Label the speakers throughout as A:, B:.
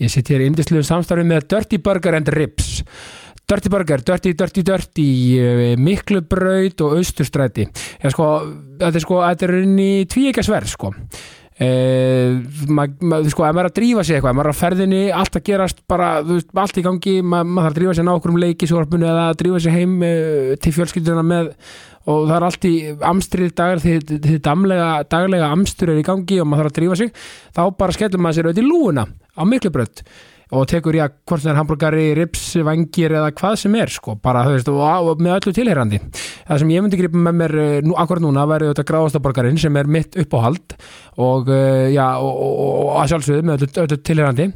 A: Ég sitt hér í indisluðu samstarfi með Dirty Burger and Ribs. Dirty Burger, Dirty, Dirty, Dirty, eh, Miklubraut og Austurstræti. Ég sko, þetta er sko, þetta er inn í tvíekja sverð, sko. Uh, ma, ma, sko, ef maður er að drífa sig eitthvað ef maður er að ferðinni, allt að gerast bara, þú veist, allt í gangi, ma, maður þarf að drífa sig ná okkur um leikisvarpinu eða að drífa sig heim uh, til fjölskylduna með og það er allt í amstrið dagar því, því damlega, daglega amstur er í gangi og maður þarf að drífa sig þá bara skellum maður sér auðvitað í lúuna á miklu brönd og tekur í að hvort það er hambúrgari, rips, vangir eða hvað sem er sko, bara þú veist, og, og með öllu tilherrandi það sem ég myndi gripa með mér eh, nú, akkur núna væri auðvitað gráðastaborgarinn sem er mitt uppáhald og, eh, já, og, og, og, og að sjálfsögðu með öllu, öllu tilherrandi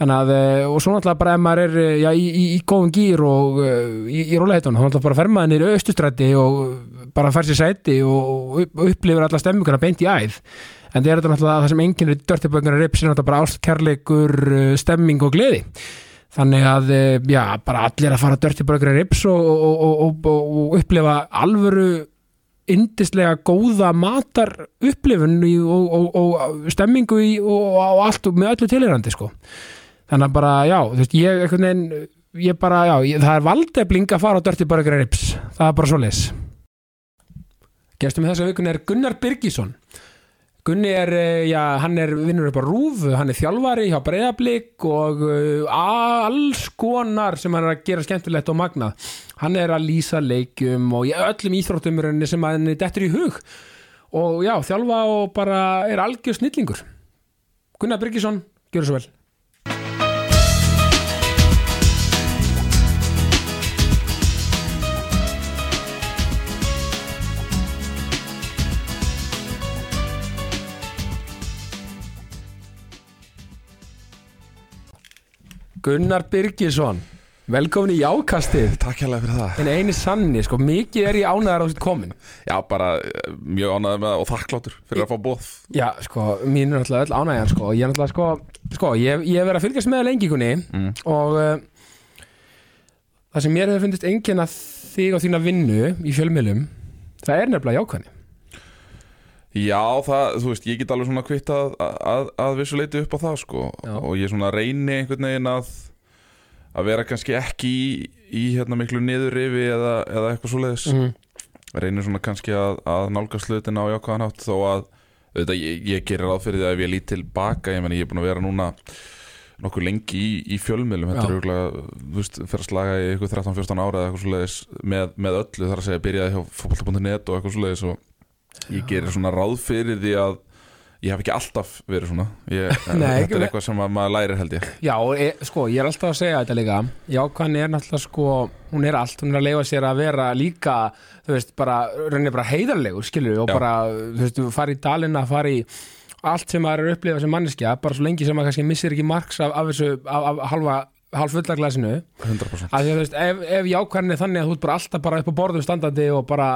A: þannig að, eh, og svo náttúrulega bara ef maður er eh, já, í, í, í góðum gýr og eh, í, í róleheitun, þá náttúrulega bara fer maður niður austustræti og bara fer sér sæti og upp- upplifir alla stemminguna beint í æð en það er þetta náttúrulega það sem enginn er dörtibönguna rips er náttúrulega bara ástkærleikur uh, stemming og gleði þannig að, eh, já, bara allir að fara dörtibönguna rips og, og, og, og, og, og upplifa alvöru yndislega góða matar upplifun í, og, og, og stemmingu í, og, og allt og með öllu tilherandi sko þannig að bara, já, þú veist, ég einhvern veginn, ég bara, já, ég, það er valdefling að fara á Dirty Burger and Rips, það er bara svo leis Gestum þess að vikun er Gunnar Birgisson Gunni er, eh, já, hann er vinnur upp á Rúf, hann er þjálfari hjá Breiðablík og uh, alls konar sem hann er að gera skemmtilegt og magnað. Hann er að lýsa leikjum og í öllum íþróttumurinn sem hann er dettur í hug og já, þjálfa og bara er algjör snillingur. Gunnar Birgisson, gjör svo vel. Gunnar Birgisson, velkomin í jákastið.
B: Takk hérlega fyrir það
A: En eini sanni, sko, mikið er ég ánæðar á sitt komin.
B: Já, bara eh, mjög ánægð með það og þakkláttur fyrir að fá bóð
A: Já, sko, mín er náttúrulega öll ánægjan sko. og Ég er náttúrulega, sko, sko ég, ég hef verið að fylgjast með lengingunni mm. og uh, það sem mér hefur fundist enginn að þig og þína vinnu í fjölmiðlum, það er nefnilega jákvæðni
B: Já, það, þú veist, ég get alveg svona kvittað að, að, að vissu leiti upp á það, sko
A: Já.
B: og ég svona reyni einhvern veginn að að vera kannski ekki í, í hérna miklu niðurrifi eða, eða eitthvað svoleiðis
A: mm.
B: reynir svona kannski að, að nálgast hlutin á jákvæðan hátt þó að auðvitað, ég, ég gerir ráð fyrir því að ef ég lít til baka ég meni ég er búin að vera núna nokkuð lengi í, í fjölmiðlum
A: Já.
B: þetta er auðvitað, þú veist, fyrir að slaga í eitthvað 13-14 ára eða eitthvað svoleiðis með, með öllu þar að segja byrjaði hjá fótbolta.net og eitthvað svoleiðis og ég gerir svona ráð fyrir því að ég hef ekki alltaf verið svona ég,
A: Nei,
B: þetta er eitthvað sem að maður lærir held ég
A: Já, og e, sko, ég er alltaf að segja þetta líka Jákvæðni er náttúrulega, sko, hún er allt hún er að leifa sér að vera líka þú veist, bara, raunir bara heiðarlegur skilur og
B: Já.
A: bara, þú veist, fara í dalina fara í allt sem maður er að upplifa sem manneskja, bara svo lengi sem maður kannski missir ekki marks af, af þessu, af, af halva hálfullaglasinu
B: 100%
A: að því að þú veist, ef, ef jákvæðin er þannig að þú ert bara alltaf bara upp á borðum standandi og bara,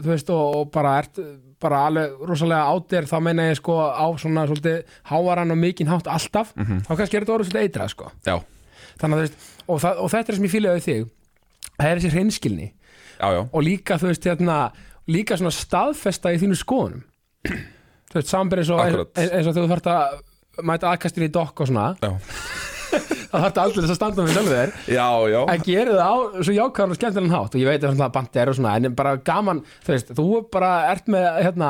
A: þú veist, og, og bara ert bara alveg rosalega átir þá meina ég sko á svona svolítið hávaran og mikinn hátt alltaf, þá kannski er þetta orðið svolítið eitrað sko,
B: Já,
A: þannig að þú veist og, það, og þetta er sem ég fílaði þig það er þessi hreinskilni
B: já, já
A: og líka þú veist, hérna, líka svona staðfesta í þínu skoðunum þú veist, samber eins og,
B: Akkurat.
A: eins, eins og þegar þú þarft að mæta aðkastin í dokk og svona,
B: Já,
A: þá þarft aldrei þess að standa með sjálfur þér
B: já, já,
A: að gera það á svo jákvæðan og skemmtilegan hátt og ég veit að það bandi er og svona en bara gaman, þú veist, þú bara ert með hérna,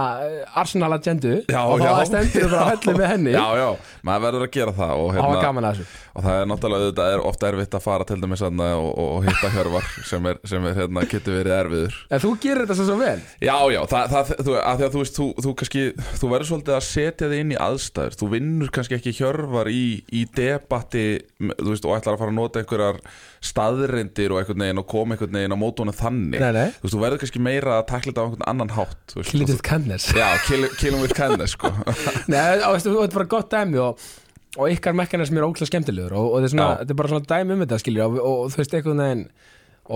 A: Arsenal agendu
B: já,
A: og
B: já.
A: þá stendur þú bara
B: Já.
A: höllu með henni
B: Já, já, maður verður að gera það og,
A: og það var
B: hérna,
A: gaman að þessu
B: og það er náttúrulega þetta er ofta erfitt að fara til dæmis þarna og, og, og hitta hjörvar sem, er, sem er, hérna, getur verið erfiður
A: en þú gerir þetta svo, svo vel
B: Já, já, það, það, þú, að því að þú veist þú, þú kannski, þú verður svolítið að setja þig inn í aðstæður, þú vinnur kannski ekki hjörvar í, í debatti m- þú veist, og ætlar að fara að nota einhverjar staðrindir og einhvern veginn og koma einhvern veginn á mótuna þannig
A: Nei, nei.
B: þú veist, þú verður kannski meira að takla þetta á einhvern annan hátt þú veist.
A: Clitted Cannes
B: Já, kill, kill him with kindness sko.
A: Nei, á, veistu, þú ert bara gott dæmi og, og ykkar mekkanis mér er ókslega skemmtilegur og, og þetta, er svona,
B: Já.
A: þetta er bara svona dæmi um þetta skilur og, og þú veist, einhvern veginn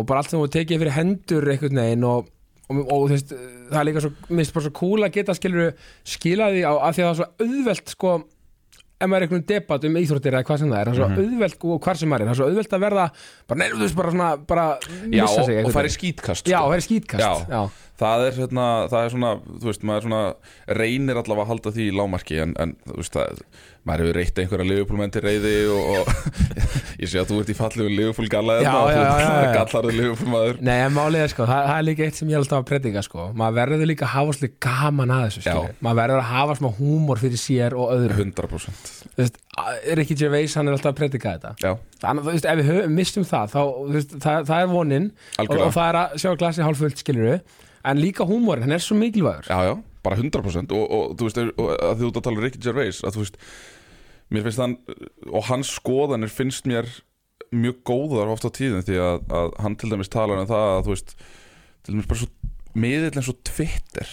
A: og bara allt sem þú tekið fyrir hendur einhvern veginn og, og, og þú veist, það er líka svo minnst bara svo cool að geta skilur skilaði á, af því að það er svo auðvelt sko, ef maður er einhvern debatt um íþróttir eða hvað sem það er, það er
B: Mhm.
A: svo auðvelt og hvar sem maður er, það er svo auðvelt að verða bara, nei, þú veist, bara svona bara
B: Já,
A: missa
B: og,
A: sig
B: og
A: einhvern
B: færi
A: veginn.
B: skítkast
A: Já,
B: sko.
A: það er skítkast
B: Já.
A: Já.
B: það er, hérna, það er svona, þú veist, maður svona reynir allavega að halda því í lámarki en, en þú veist, það, maður hefur reytt einhverja liðupúlmenn til reyði og, og ég sé að þú ert í fallegu liðupúlgalla
A: Já, já, já, já, já.
B: gallarðu liðupúlmaður
A: Nei, en málið er sko, það, það er líka eitt sem ég er alltaf að predika sko Maður verður líka að hafa slik gaman að þessu
B: Já.
A: skilur. Maður verður að hafa smá húmor fyrir sér og öðru
B: 100%
A: Þú veist, Ricky Gervais, hann er alltaf að predika þetta
B: Já,
A: Þannig, að, þú veist, ef við höf, mistum það, þá, þú veist, það það er vonin og,
B: Algjörlega.
A: og það er að sjá glasið hálffullt skilur En líka húmorinn, hann er svo mikilvægur
B: já, já, bara 100% og, og þú veist, og, að þú ert að tala um Ricky Gervais að þú veist, mér finnst hann og hans skoðanir finnst mér mjög góðar ofta á tíðin því að, að hann til dæmis talar um það að þú veist, til dæmis bara svo miðill eins og Twitter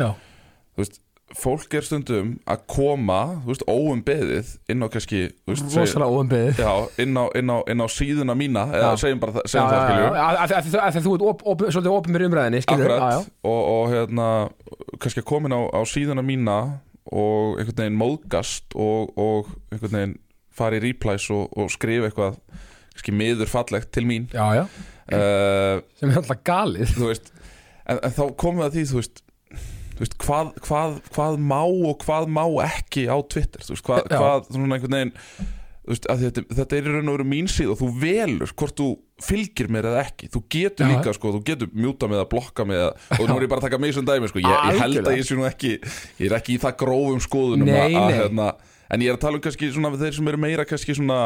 A: Já,
B: þú veist, fólk er stundum að koma, þú veist, óum beðið inn á kannski, þú veist, segir-
A: rosalega óumbeðið
B: já, inn á, inn á, inn á síðuna mína, eða
A: Já.
B: segjum bara, það-
A: Já,
B: segjum það,
A: já, já,
B: skiljum
A: af- af- af- af- af- af- Þú ert op, op, svolítið opið mér umræðinni skilur
B: Akkurat,
A: já, já.
B: Og, og hérna kannski að komin á, á síðuna mína og einhvern veginn móðgast og, og einhvern veginn fara í replies og, og skrifa eitthvað kannski miður fallegt til mín
A: já, já,
B: uh,
A: sem er alltaf galið
B: þú veist en, en þá komið að því, þú veist Þú veist, hvað, hvað, hvað má og hvað má ekki á Twitter þú veist, hvað,
A: Já.
B: hvað svona einhvern veginn þú veist, að þetta, þetta er í raun og veru mín síð og þú velur hvort þú fylgir mér eða ekki þú getur
A: Já.
B: líka, sko, þú getur mjúta með að blokka með að, og nú er ég bara að taka mig sem dæmi sko. ég, ég held að ég sé nú ekki ég er ekki í það grófum skoðunum
A: Nei,
B: að, að,
A: nei.
B: hérna, en ég er að tala um kannski svona við þeir sem eru meira kannski svona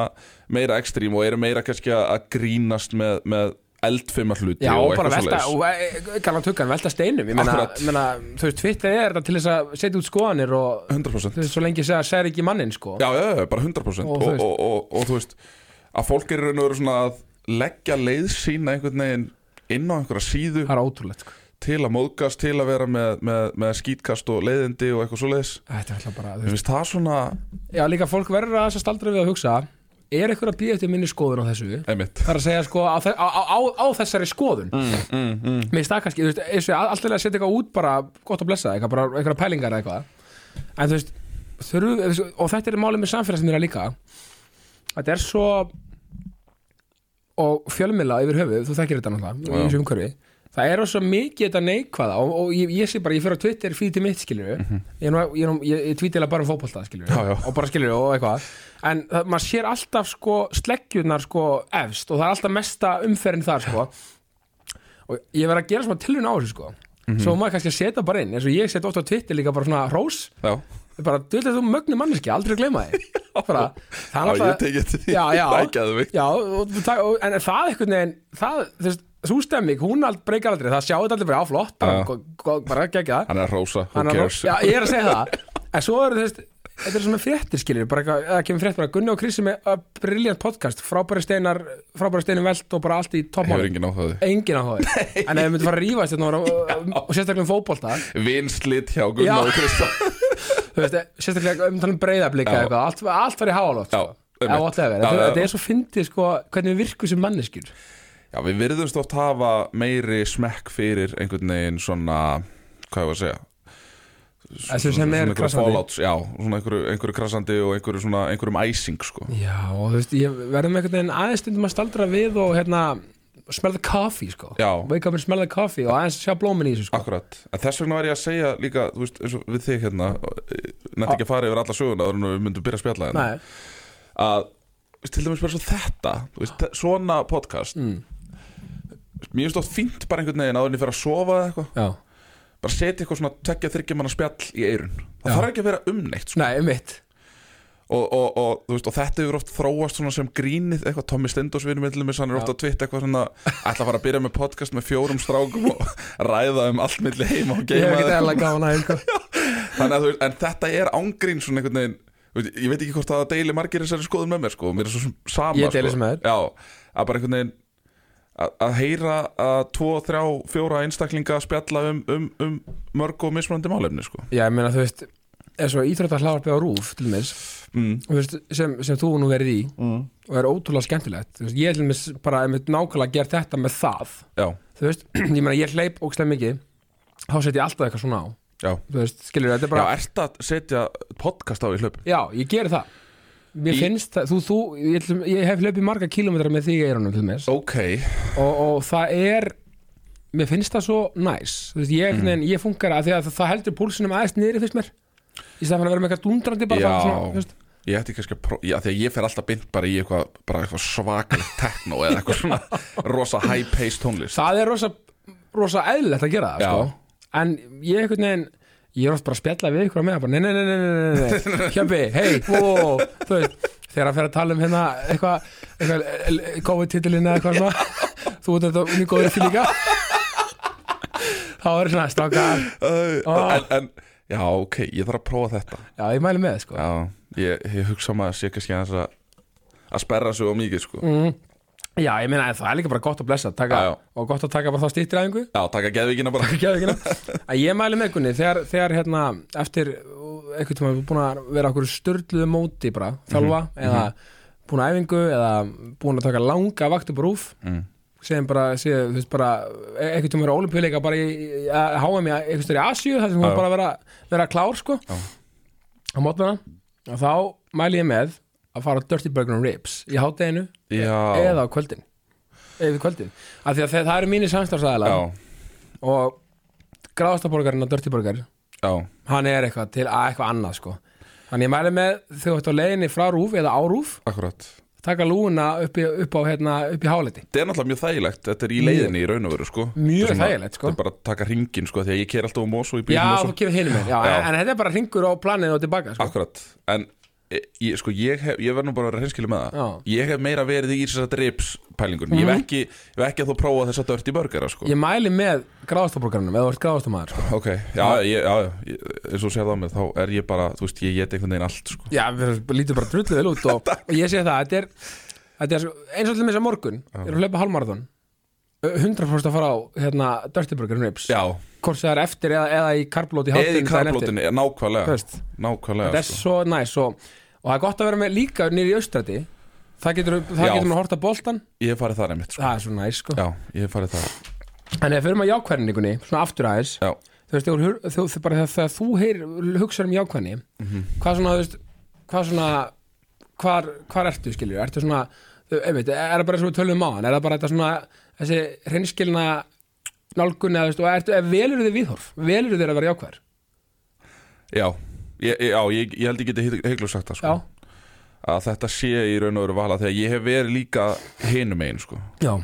B: meira ekstrím og eru meira kannski að, að grínast með, með eldfimma hluti
A: Já,
B: og
A: og eh, bara
B: eitthvað
A: velta,
B: svoleiðis.
A: kannan tukkan, velta steinum Ég meina,
B: Akkurat.
A: ég meina, þú veist, Twitter er þetta til þess að setja út skoðanir og
B: 100%
A: þú veist, svo lengi segja, segir ekki mannin sko
B: já, já, já, bara 100%
A: Og þú
B: og, og,
A: veist-
B: og, og, þú veist að fólk er raun og veru svona að leggja leið sína einhvern veginn inn á einhverja síðu
A: Það er ótrúlegt sko
B: til að móðgast, til að vera með, með, með skítkast og leiðindi og eitthvað svoleiðis
A: Þetta er alltaf bara, þú
B: Mér
A: veist
B: finnst það svona,
A: Já, líka fólk verður aðeins að staldra við að hugsa Er eitthvað að býja eftir minni skoðun á þessu?
B: einmitt
A: Það er að segja sko á, þe- á, á, á, á þessari skoðun mm, mm, mm. Mér stakast, þú veist, eins og ég, alltaf að setja eitthvað út bara gott að blessa, eitthvað, bara eitthvað pælingar eða eitthvað En þú veist, þurfu, og þetta er málið með samfélagsmiðla líka Þetta er svo og fjölmiðla yfir höfuð, þú þekkir þetta náttúrulega
B: Já.
A: í þessu umhverfi, það er svo mikið þetta neikvæða og, og ég, ég sé bara, ég fyrir á Twitter fyrir til mitt skilur ég, er nú- ég, er nú- ég, ég tweetilega bara um fótbolta skilur
B: Mhm. Já, já.
A: og bara skilur og eitthvað en það, maður sér alltaf sko sleggjurnar sko efst og það er alltaf mesta umferðin þar sko og ég verð að gera svona tilhuna á þessu sko
B: Mhm.
A: svo maður kannski að setja bara inn eins og ég setja oft á Twitter líka bara svona hrós
B: Já,
A: bara, þú veit að þú mögnu manneski, aldrei gleyma þig bara, það er
B: já ég
A: alltaf
B: tekið til því
A: Já, já.
B: Það er ekki að
A: Já, og, þú tak- og, en það einhvern veginn það, þú veist, sú stemming, hún ald, breykar aldrei það sjáu þetta aldrei bara á flott bara,
B: Já.
A: ja. go, bara gegja það
B: Hann er að rósa, who
A: Hann er að-
B: cares
A: Já, ég er að segja það en svo eru þú veist, þetta er svona fréttir skiljur bara eitthvað, það kemur frétt bara Gunni og Krissi með uh, brilliant podcast, frábæri steinar frábæri steinar velt og bara allt í
B: Hefur
A: toppmálum
B: enginn á það
A: engin á það, en ef við myndum fara að rífast þetta og, og sérstaklega um fótbolta
B: Vinslit hjá
A: Já.
B: Gunnar og Krista
A: þú veist, sérstaklega um talum breyðablika
B: Já.
A: eitthvað, allt, allt var í háalótt
B: Já,
A: eða
B: einmitt.
A: whatever,
B: Já,
A: Þetta-
B: já, já.
A: þetta er svo fyndið sko, hvernig við virkum sem manneskjur
B: Já, við virðumst oft hafa meiri smekk fyrir einhvern veginn svona hvað ég var að segja
A: Þessu sem er
B: einhverju
A: krassandi.
B: fallouts, Já, svona einhverju, einhverju krassandi og einhverju svona, einhverjum æsing sko.
A: Já, og þú veist, ég verðum einhvern veginn aðeins stundum að staldra við og hérna smell the coffee, sko
B: Já.
A: Wake up and smell the coffee og aðeins sjá blómin í þessu, sko
B: Akkurat, en þess vegna var ég að segja líka þú veist, eins og við þig hérna nætti ekki að fara yfir alla söguna þannig að við myndum byrja að spjalla hérna
A: Nei,
B: að þú veist, til dæmis bara svo þetta þú veist, þe- svona podcast
A: Mm.
B: mér finnst oft fínt bara einhvern veginn áður en ég fer að sofa eða eitthvað
A: já,
B: bara setja eitthvað svona tekja þryggjumanna spjall í eirun það
A: Já.
B: þarf ekki að vera umneitt sko.
A: nei, mitt
B: og, og, og, þú veist, og þetta hefur oft þróast svona sem grínið eitthvað Tommy Stendos vinur með hann er
A: Já.
B: oft á tvitt eitthvað svona ætla að fara að byrja með podcast með fjórum strákum og ræða um allt milli heima og
A: Ég hef
B: geima
A: ekkert
B: þeim.
A: eðla gána, sko
B: Þannig að þú veist, en þetta er ángrín svona einhvern veginn þú veist, Ég veit ekki hvort það deili margir þessari skoðum með mér sko Mér er svo sem sama
A: Ég deili
B: sko.
A: sem með
B: Já, að bara einhvern veginn að, að heyra að tvo, þrjá, fjóra einstaklinga spjalla um, um, um mörg og mismunandi málefni sko
A: Já, ég meina, þú veist, er svo íþróttar hlávarpið á rúf, til mér
B: mm.
A: Þú veist, sem, sem þú nú verið í
B: Mm.
A: og er ótrúlega skemmtilegt Þú veist, Ég til mér bara, ég mynd nákvæmlega gert þetta með það
B: Já,
A: Þú veist, ég meina, ég hleyp ógstlega mikið þá set ég alltaf eitthvað svona á
B: já
A: Þú veist, skilur, þetta er bara
B: Já, ert að setja podcast á í hlaupum?
A: Já, ég geri það Mér
B: Í-
A: finnst það, þú, þú, ég, ætlum- ég hef hlaupið marga kílómetra með þig í eyrunum til mér
B: Ok,
A: og, og það er mér finnst það svo næs þú veist, ég, mm. ég funkar að því að það, það heldur púlsinum aðeins niðri fyrst mér í stað fyrir að vera með eitthvað dundrandi bara
B: Já.
A: það svona, þú veist.
B: Ég ætti kannski að prófa, já þegar ég fer alltaf bynd bara í eitthvað, bara eitthvað svakalit techno eða eitthvað svona rosa high-paced tónlist
A: það er rosa, rosa eðlilegt að gera það
B: Já.
A: sko. en ég einhvern veginn ég er oft bara að spjalla við ykkur með það bara, nei, nei, nei, nei, nei, nei, nei. hjömbi, hei, ó, þú veist þegar að fyrir að tala um hérna eitthvað, eitthvað COVID-titilinn eða eitthvað svona þú ert þetta unni góður til líka þá er svona stakar
B: uh,
A: Ah.
B: en, en, já ok, ég þarf að prófa þetta
A: já, ég mæli með, sko
B: Já, ég, ég hugsa maður að sé kannski aðeins að að sperra sig á mikið sko
A: Mm. já, ég meina, það er líka bara gott að blessa taka,
B: Já, já.
A: og gott að taka bara þá stýttir aðingu
B: Já, taka geðvikina bara
A: geðvikina að ég mæli með Gunni þegar, þegar hérna eftir eitthvað tíma við búin að vera okkur störluðu móti bara, þjálfa
B: Mhm,
A: eða búin að æfingu eða búin að taka langa vakti bara úf
B: mm.
A: segjum bara, segjum, þú veist bara e- eitthvað tíma vera olimpíuleika bara í, í að háa mig eitthvað stöður í Asíu þar sem hún
B: Já.
A: bara vera, vera klár sko
B: Já.
A: á mótana og þá mæli ég með að fara á Dirty Burger and Ribs í hátæginu
B: Já,
A: eða á kvöldin eða kvöldin, af því að þe- það eru mínir samstafsæðala
B: já,
A: og gráðastaborgarinn og dörtiborgar
B: já,
A: hann er eitthvað til að eitthvað annað sko þannig ég mæli með þau átt á leiðinni frá rúf eða á rúf,
B: akkurat
A: taka lúna upp í, upp á, hérna, upp í háliti
B: Þetta er náttúrulega mjög þægilegt, þetta er í leiðinni í raun og veru sko
A: Mjög
B: Þetta er svona-
A: þægilegt, sko.
B: Þetta er bara að taka ringin sko, því að ég ker alltaf á Mosó í bílum
A: já,
B: og svo
A: þú kemur hinum með já,
B: Já.
A: En, en þetta er bara hringur á planinu og tilbaka sko.
B: Akkurat, en e- ég, sko, ég, hef, ég verð nú bara að vera hinskilu með það
A: Já. Mhm.
B: Ég hef meira verið í þessar drips pælingun Ég hef ekki, ég hef ekki að þú prófa þessa dörti burgera sko.
A: ég mæli með gráðastaborgarinum eða þú ert gráðastamæður sko.
B: Ok, já, ég, já, já, ég- eins og þú sér það á mig Þá er ég bara, þú veist, ég get einhvern veginn allt sko.
A: já, við lítum bara drullið vel út og, og ég segi það, þetta er, þetta er sko- eins og allir með þess að morgun, ég er að hlaupa halmarathon 100% að fara á hérna, dörtiborgarin rips,
B: Já,
A: hvort sem það er eftir eða, eða í karblóti
B: eða í karblótinu, nákvæmlega
A: Þú veist. þetta
B: Nákvæmlega,
A: er
B: sko.
A: svo næs og, og það er gott að vera með líka nýri í austræti það getur, það
B: Já.
A: getur maður að horta boltan
B: ég hef farið þar einmitt sko.
A: það er svo næs sko
B: Já, ég hef farið þar
A: en ef við erum að jákvæðningunni, svona aftur aðeins
B: Já,
A: þú veist, þegar þú- þú, þú, bara þegar, þegar þú heyr, hugsar um jákvæðni
B: Mhm.
A: hvað svona, þú veist, hvað svona hvar, hvar ertu skilur ertu svona, þú, einmitt, er það bara eins og við tölum á hann, er það bara þetta svona þessi hreinskilna nálgunni eða, þú veist, og ertu, er, velur þið viðhorf velur þið að vera jákvæður,
B: já Ég, ég- já, ég, ég held ég geti heiklu sagt það
A: já,
B: sko, að þetta sé í raun og veru vala þegar ég hef verið líka hinum einn sko.
A: já,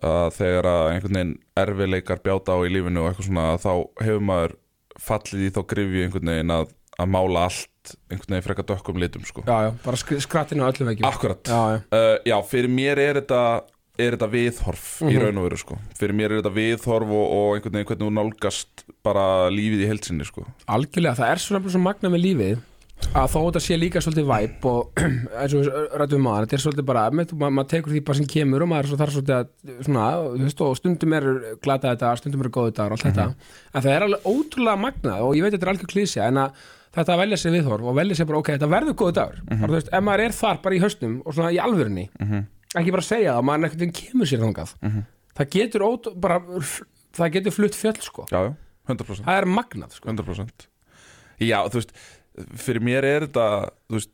B: að þegar að einhvern veginn erfileikar bjáta á í lífinu og eitthvað svona þá hefur maður fallið í þá grifju einhvern veginn að, að mála allt einhvern veginn frekar dökkum litum sko.
A: já, já bara skr- skrattinu á öllum vekkjum
B: Akkurat,
A: já, já,
B: uh, já, fyrir mér er þetta er þetta viðhorf í raun og veru sko. fyrir mér er þetta viðhorf og, og einhvern veginn hvernig þú nálgast bara lífið í helsinni sko.
A: Algjörlega, það er svona bara svo magna með lífið að þó þetta sé líka svolítið væp og eins og rættum maður þetta er svolítið bara, með, ma maður tekur því bara sem kemur og maður er svo þar svolítið að svona, þú veist, og stundum er glata þetta, stundum er góð þetta og allt þetta, en það er alveg ótrúlega magna og ég veit þetta er algjör klísja en að þetta að velja sér viðhorf og velja sér bara ok, þetta verður góð dagur, bara, þú veist, ef maður er þar bara í hausnum og svona í alvörunni ekki bara segja það, maður einhvern veginn kemur sér þangað það getur ótrú, bara, það getur flutt fjöll sko,
B: já, já, 100%
A: það er magnað sko.
B: 100% Já, þú veist, fyrir mér er þetta þú veist,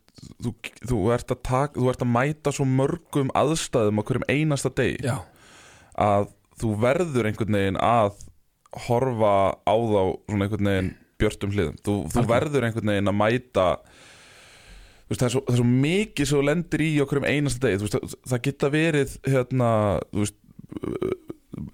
B: þú, þú, ert að taka, þú ert að mæta svo mörgum aðstæðum á hverjum einasta degi
A: Já.
B: að þú verður einhvern veginn að horfa á þá svona einhvern veginn björtum hliðum þú, þú
A: Algjörlega.
B: verður einhvern veginn að mæta þú veist, það, er svo, það er svo mikið sem þú lendir í á hverjum einasta degi þú veist, það, það geta verið hérna, þú veist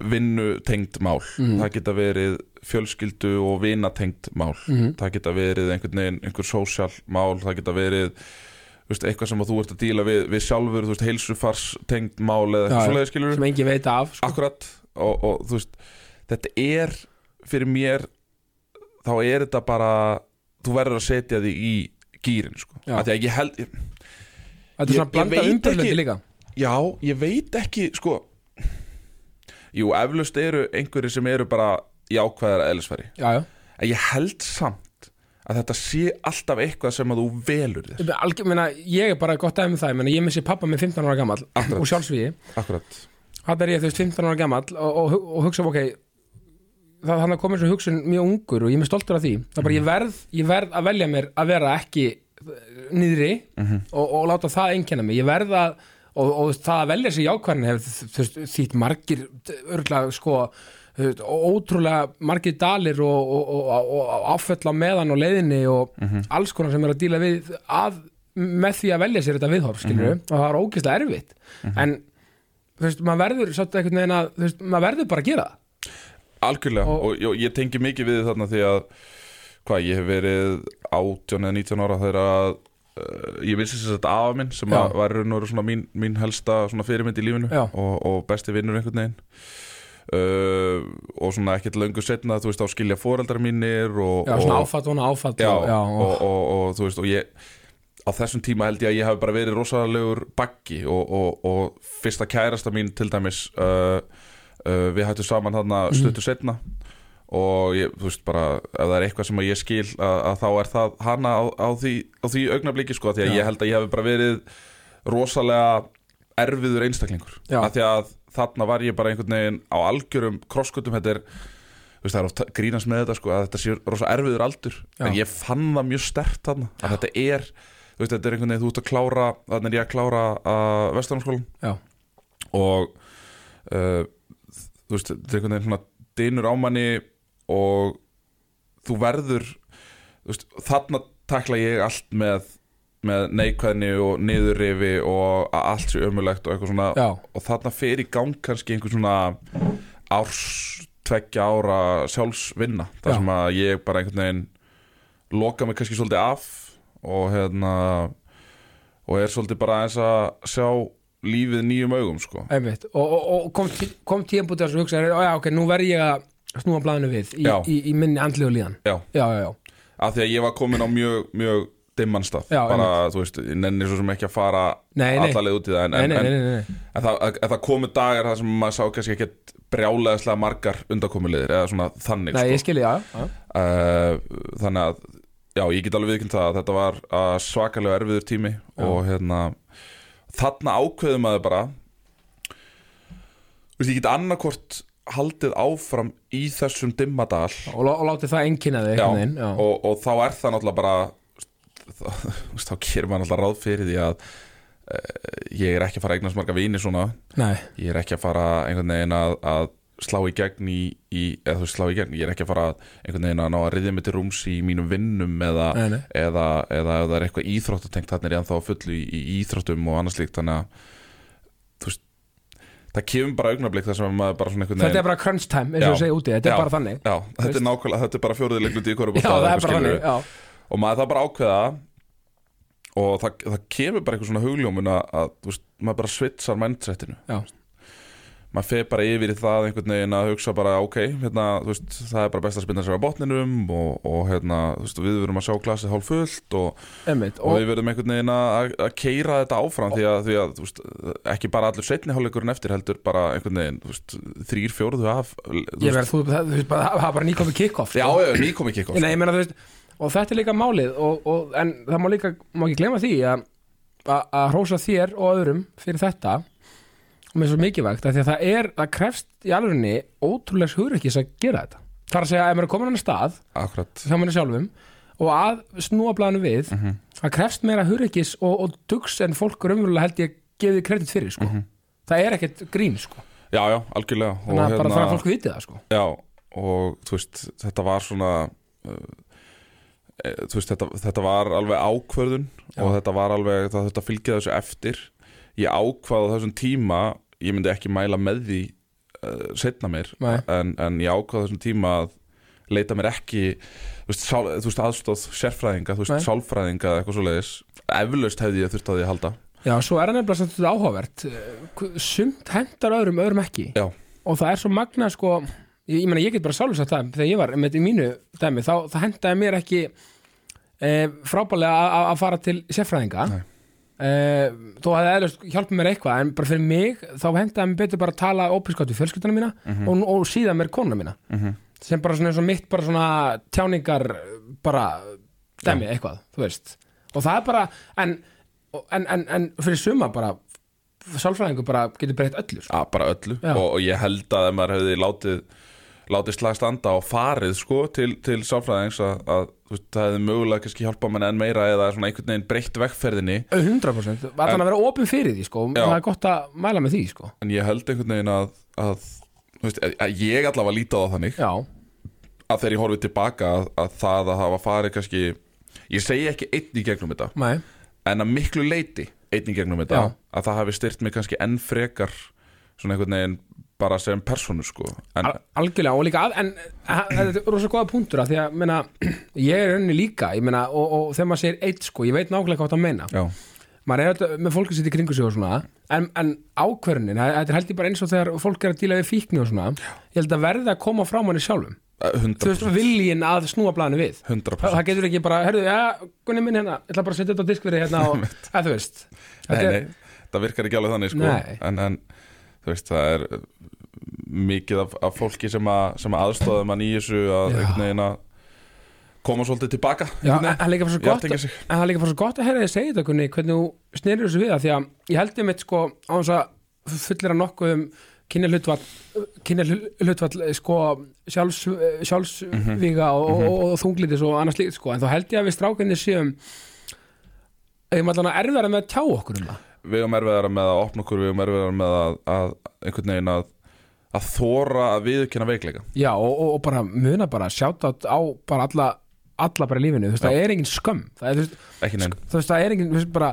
B: vinnu tengd mál
A: Mhm.
B: það geta verið fjölskyldu og vinatengt mál
A: Mhm.
B: það geta verið einhvern veginn einhver sósjál mál, það geta verið þú veist, eitthvað sem að þú ert að díla við, við sjálfur, þú veist, heilsufars tengd mál
A: Já,
B: eða eitthvað
A: já.
B: svoleiðis skilur
A: sem engin veit af sko.
B: Akkurat og, og þú veist Þetta er fyrir mér Þá er þetta bara Þú verður að setja þig í gýrin sko.
A: Já.
B: Af því að ég held
A: Þetta er
B: Ég-
A: svona
B: ég
A: blanda
B: veit
A: umbröðlundi
B: ekki-
A: líka
B: Já, ég veit ekki sko. Jú, eflaust eru einhverjir sem eru bara jákvæðar eðlisfæri
A: Já, já
B: En ég held samt að þetta sé alltaf eitthvað sem að þú velur þér
A: Algjör, meina, Ég er bara gott aðeins með það Ég meina, Ég missi pappa með 15 ára gamall
B: Akkurat.
A: og sjálfsvíði
B: Akkurat
A: Þetta er ég þú veist 15 ára gamall og, og, og hugsa ok það hann komið svo hugsun mjög ungur og ég er mjög stoltur af því það er bara ég verð, ég verð að eh, velja mér að vera ekki niðri og, og láta það einkenna mig ég verð að, og, og það að velja sér jákvæðin hefur þú veist, þýtt margir örgla sko þú veist, ótrúlega margir dalir og, og, og, og, og áföll á meðan og leiðinni og alls konar sem er að díla við að, með því að velja sér þetta viðhorf skilur og það er ógeðslega erfitt en þú veist, maður verður svolítið einhvern veginn að, þú veist, maður verður bara að gera það
B: Algjörlega
A: Og-
B: og, og ég tengi mikið við þarna því að hvað, ég hef verið 18 eða 19 ára þegar að uh, ég vissi þess að afa minn sem
A: Já.
B: að var raun og veru svona mín, mín helsta svona fyrirmynd í lífinu
A: Já.
B: og, og besti vinnur einhvern veginn uh, og svona ekkert löngu setna þú veist á skilja foreldrar mínir og,
A: já, svona
B: og,
A: áfall, svona áfall
B: já,
A: og, já,
B: og, og, og þú veist og ég á þessum tíma held ég að ég hafi bara verið rosalegur baggi og, og, og fyrsta kærasta mín til dæmis uh, uh, við hættum saman þarna
A: Mhm.
B: stuttu setna og ég, þú veist bara ef það er eitthvað sem að ég skil að, að þá er það hana á, á, því, á því augnabliki sko því að
A: Já.
B: ég held að ég hafi bara verið rosalega erfiður einstaklingur
A: Já.
B: af því að þarna var ég bara einhvern veginn á algjörum krosskutum þetta er þú veist, það er oft grínast með þetta sko, að þetta sé rosa erfiður aldur
A: Já.
B: en ég fann það mjög stert þarna að þetta er, þú veist, þetta er einhvern veginn þú ert að klára, þannig er ég að klára að vestarnámskólan
A: já,
B: og uh, þú veist, þetta er einhvern veginn svona dynur ámanni og þú verður þú veist, þarna takla ég allt með með neikvæðni og niðurrifi og að allt sé ömulegt og eitthvað svona
A: já,
B: og þarna fer í gang kannski einhver svona árs tveggja ára sjálfsvinna þar
A: Já.
B: sem að ég bara einhvern veginn loka mig kannski svolítið af og hérna og er svolítið bara eins að sjá lífið nýjum augum sko
A: einmitt og, og, og kom, tí- kom tíðanbútið að þessu hugsa "Ó, já, ok, nú verð ég að snúa blæðinu við í,
B: Já.
A: í, í minni andlegu líðan
B: Já.
A: já, já, já,
B: af því að ég var komin á mjög, mjög dimman stað,
A: Já,
B: bara þú veist ég nenni svo sem ekki að fara
A: Nei, nei.
B: allaleg út í það en,
A: nei,
B: en,
A: nei, nei,
B: en,
A: nei, nei.
B: En það, að, að það komu dagar þar sem maður sá kannski ekkert brjáleðislega margar undakomulegir eða svona þannig
A: nei
B: sko.
A: ég skilji, já, já,
B: uh, þannig að já, ég get alveg viðkynnt það að þetta var uh, svakalega erfiður tími og hérna þarna ákveðum maður bara þú veist, ég get annarkvort haldið áfram í þessum dimmadal
A: já. og, lá- og láti það einkenna þig
B: já,
A: einhvern veginn, já,
B: og, og þá er það náttúrulega bara þá, þú veist, þá gerir maður náttúrulega ráð fyrir því að uh, ég er ekki að fara að eignast marga vini svona
A: nei,
B: ég er ekki að fara einhvern veginn að, að slá í gegn í, í eða þú veist, slá í gegn, ég er ekki að fara einhvern veginn að ná að riðja mig til rúms í mínum vinnum eða,
A: Nei, nei.
B: eða, eða ef það er eitthvað íþróttatengt þannig er ég ennþá á fullu í, í íþróttum og annars líkt þannig að þú veist, það kemur bara augnablik þar sem maður bara svona einhvern
A: þetta
B: veginn
A: er bara crunch time eins og
B: Já.
A: þú segir úti, þetta
B: Já.
A: er bara þannig
B: Já, þetta
A: veist.
B: er nákvæmlega, þetta er bara fjóruði leiklundi í
A: já,
B: korubólta
A: það er bara þannig, já,
B: og maður það bara ákveða og það, það kemur bara eitthvað svona hugljómun að, að þú veist, maður bara svitsar mindsetinu
A: já,
B: maður fer bara yfir í það einhvern veginn að hugsa bara ok, hérna, þú veist, það er bara best að spinna sér á botninum og, og hérna, þú veist, við verum að sjá glasið hálf fullt og,
A: einmitt
B: og,
A: og,
B: við verum einhvern veginn að, að keira þetta áfram því að, því að þú veist, ekki bara allur setni hálfleikurinn eftir heldur bara einhvern veginn, þú veist, þrýr fjóruðu af þú
A: ég verð, þú, það, þú veist, bara, það það er bara nýkomi kickoff
B: Já,
A: sko.
B: já, nýkomi kikkof
A: Nei, ég meina, þú veist, og þetta er líka málið og, og, en það má líka, má ekki glemma því að að- að hrósa þér og öðrum fyrir þetta og mér er svo mikilvægt af því að það er, það krefst í alvegni ótrúlegs hugrekkis að gera þetta þar að segja að ef maður er komin á annan stað
B: Akkurat,
A: hjá manni sjálfum og að snúa blæðinu við það krefst meira hugrekkis og, og dugs en fólk raunverulega held ég gefið kredit fyrir sko. það er ekkert grín sko.
B: já, já, algjörlega Og hérna-
A: þannig að bara þannig að fólk viti það sko.
B: Já, og þú veist, þetta var svona uh, e, þú veist, þetta, þetta var alveg ákvörðun og þetta var alveg, það þurfti að fylgja þessu eftir ég ákvaði á þessum tíma ég myndi ekki mæla með því uh, setna mér,
A: Nei.
B: en, en ég ákvaði á þessum tíma að leita mér ekki þú veist, sál, þú veist aðstóð sérfræðinga, þú veist,
A: Nei.
B: sálfræðinga eða eitthvað svoleiðis, eflaust hefði ég þurft að því að halda
A: Já, svo er það nefnilega samt þetta áhugavert Eh, hv- Sumt hendar öðrum, öðrum ekki
B: Já,
A: Og það er svo magna sko Ég, ég meina, ég get bara sálusagt það Þegar ég var með í mínu dæmi Þá það hendaði mér ekki e, frábælega að- að- að fara til sérfræðinga
B: Nei.
A: e, Þó hefði eðlust hjálpa mér eitthvað En bara fyrir mig, þá hendaði mér betur bara að tala Ópinskátt við fjölskyldana mína og, og síðan mér konuna mína
B: Mhm.
A: Sem bara svona eins og mitt bara svona Tjáningar bara Dæmi eitthvað, þú veist Og það er bara, en En, en, en fyrir suma bara sálfræðingu bara getur breytt öllu sko.
B: að bara öllu
A: Já.
B: og, og ég held að ef maður hefði látið látið slag standa og farið sko til, til sáfræðings að, að þú veist, það hefði mögulega kannski hjálpað mann enn meira eða svona einhvern veginn breytt vegferðinni
A: 100% Allan að vera opin fyrir því sko
B: Já.
A: Það er gott að mæla með því sko
B: en ég held einhvern veginn að, að, þú veist, að- að ég allavega líti á það þannig
A: Já,
B: að þegar ég horfið tilbaka að, að það að hafa farið kannski ég segi ekki einn í gegnum þetta
A: mæ
B: en að miklu leiti einn í gegnum þetta
A: Já.
B: að það hafi styrt mig kannski enn frekar svona einhvern veginn bara sem personu sko en,
A: Al algjörlega og líka að en að- að þetta er rosa góða punktur að því að meina, ég er rauninni líka ég meina, og, og þegar maður segir eitt sko, ég veit nákvæmlega hvað það meina
B: já,
A: maður er þetta með fólki sitt í kringu sig og svona en, en ákverðunin, það- þetta er held ég bara eins og þegar fólk er að díla við fíkni og svona ég held að verða að koma frá manni sjálfum þú
B: 100%,
A: veist viljin að snúa blæðinu við
B: 100%.
A: það það getur ekki bara, herðu, já, gunni minn hérna ég ætla bara að setja þetta á diskverði hérna og, að þú veist
B: Nei,
A: Þetta er-
B: nei, það virkar ekki alveg þannig sko
A: Nei.
B: en, en þú veist, það er uh, mikið af, af fólki sem, að, sem aðstóðum mann í þessu að
A: Já.
B: einhvern veginn að koma svolítið tilbaka
A: Já, en
B: einhvern veginn.
A: það er líka bara svo
B: Ég
A: gott
B: átti ekki sig.
A: en það er líka bara svo gott að heyra þið segja þetta Gunni, hvernig þú snerur þessu við það því að ég held um eitt sko á þess að fullir að nokkuð um kynjahlutfall kynjahlutfall sko sjálfs, sjálfsvíga og, og, og þunglítis og annars líkt sko en þá held ég að við strákinni séum eða allan að erfara með að tjá okkur um það
B: við erum erfiðara með að opna okkur við erum erfiðara með að, að einhvern veginn að að þóra að viðurkenna veikleika
A: Já og, og, og bara muna bara sjáta á bara alla, alla bara í lífinu þú veist það er engin skömm það er, þú veist,
B: ekki neina
A: þú veist, það er enginn, þú veist, bara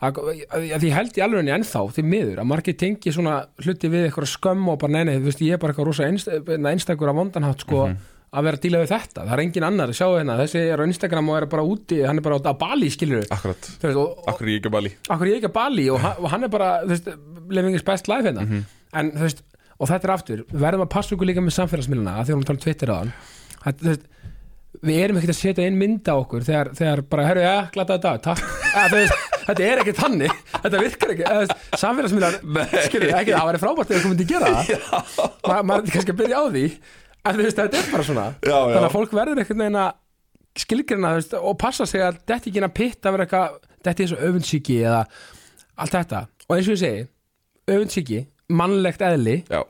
A: að, að, að því held í alveg henni ennþá því miður, að margir tengi svona hluti við eitthvað skömm og bara, nei, nei, þú veist, ég er bara eitthvað rosa einst, na, einstakur af vondanhátt, sko að vera að díla við þetta, það er enginn annar að sjá hérna þessi er á Instagram og er bara úti hann er bara á- á Bali, skilur við
B: akkurat,
A: veist, og, og,
B: akkur ég ekki bali
A: akkur ég ekki að Bali og, hann- og hann er bara, þú veist, living his best life hérna, en þú veist og þetta er aftur, við verðum að passa okkur líka með samfélagsmiðluna af því að hún tala um Twitter á hann við erum ekkert að setja inn mynda okkur þegar, þegar bara, herru, ja, glata þetta takk, ja, þú veist, þetta er ekkert þannig þetta virkar ekki, eða, þú veist, samfélagsmiðlar skilur ekki, það væri frábært ef þú myndi gera það Ma, maður er kannski að byrja á því en þú veist, þetta er bara svona
B: Já, já.
A: þannig að fólk verður einhvern veginn að skilgrina veist, og passa sig að þetta ekki inn að pitta að vera eitthvað, þetta er svo öfundsíki eða allt þetta og eins og ég segi, öfundsíki mannlegt eðli,
B: já,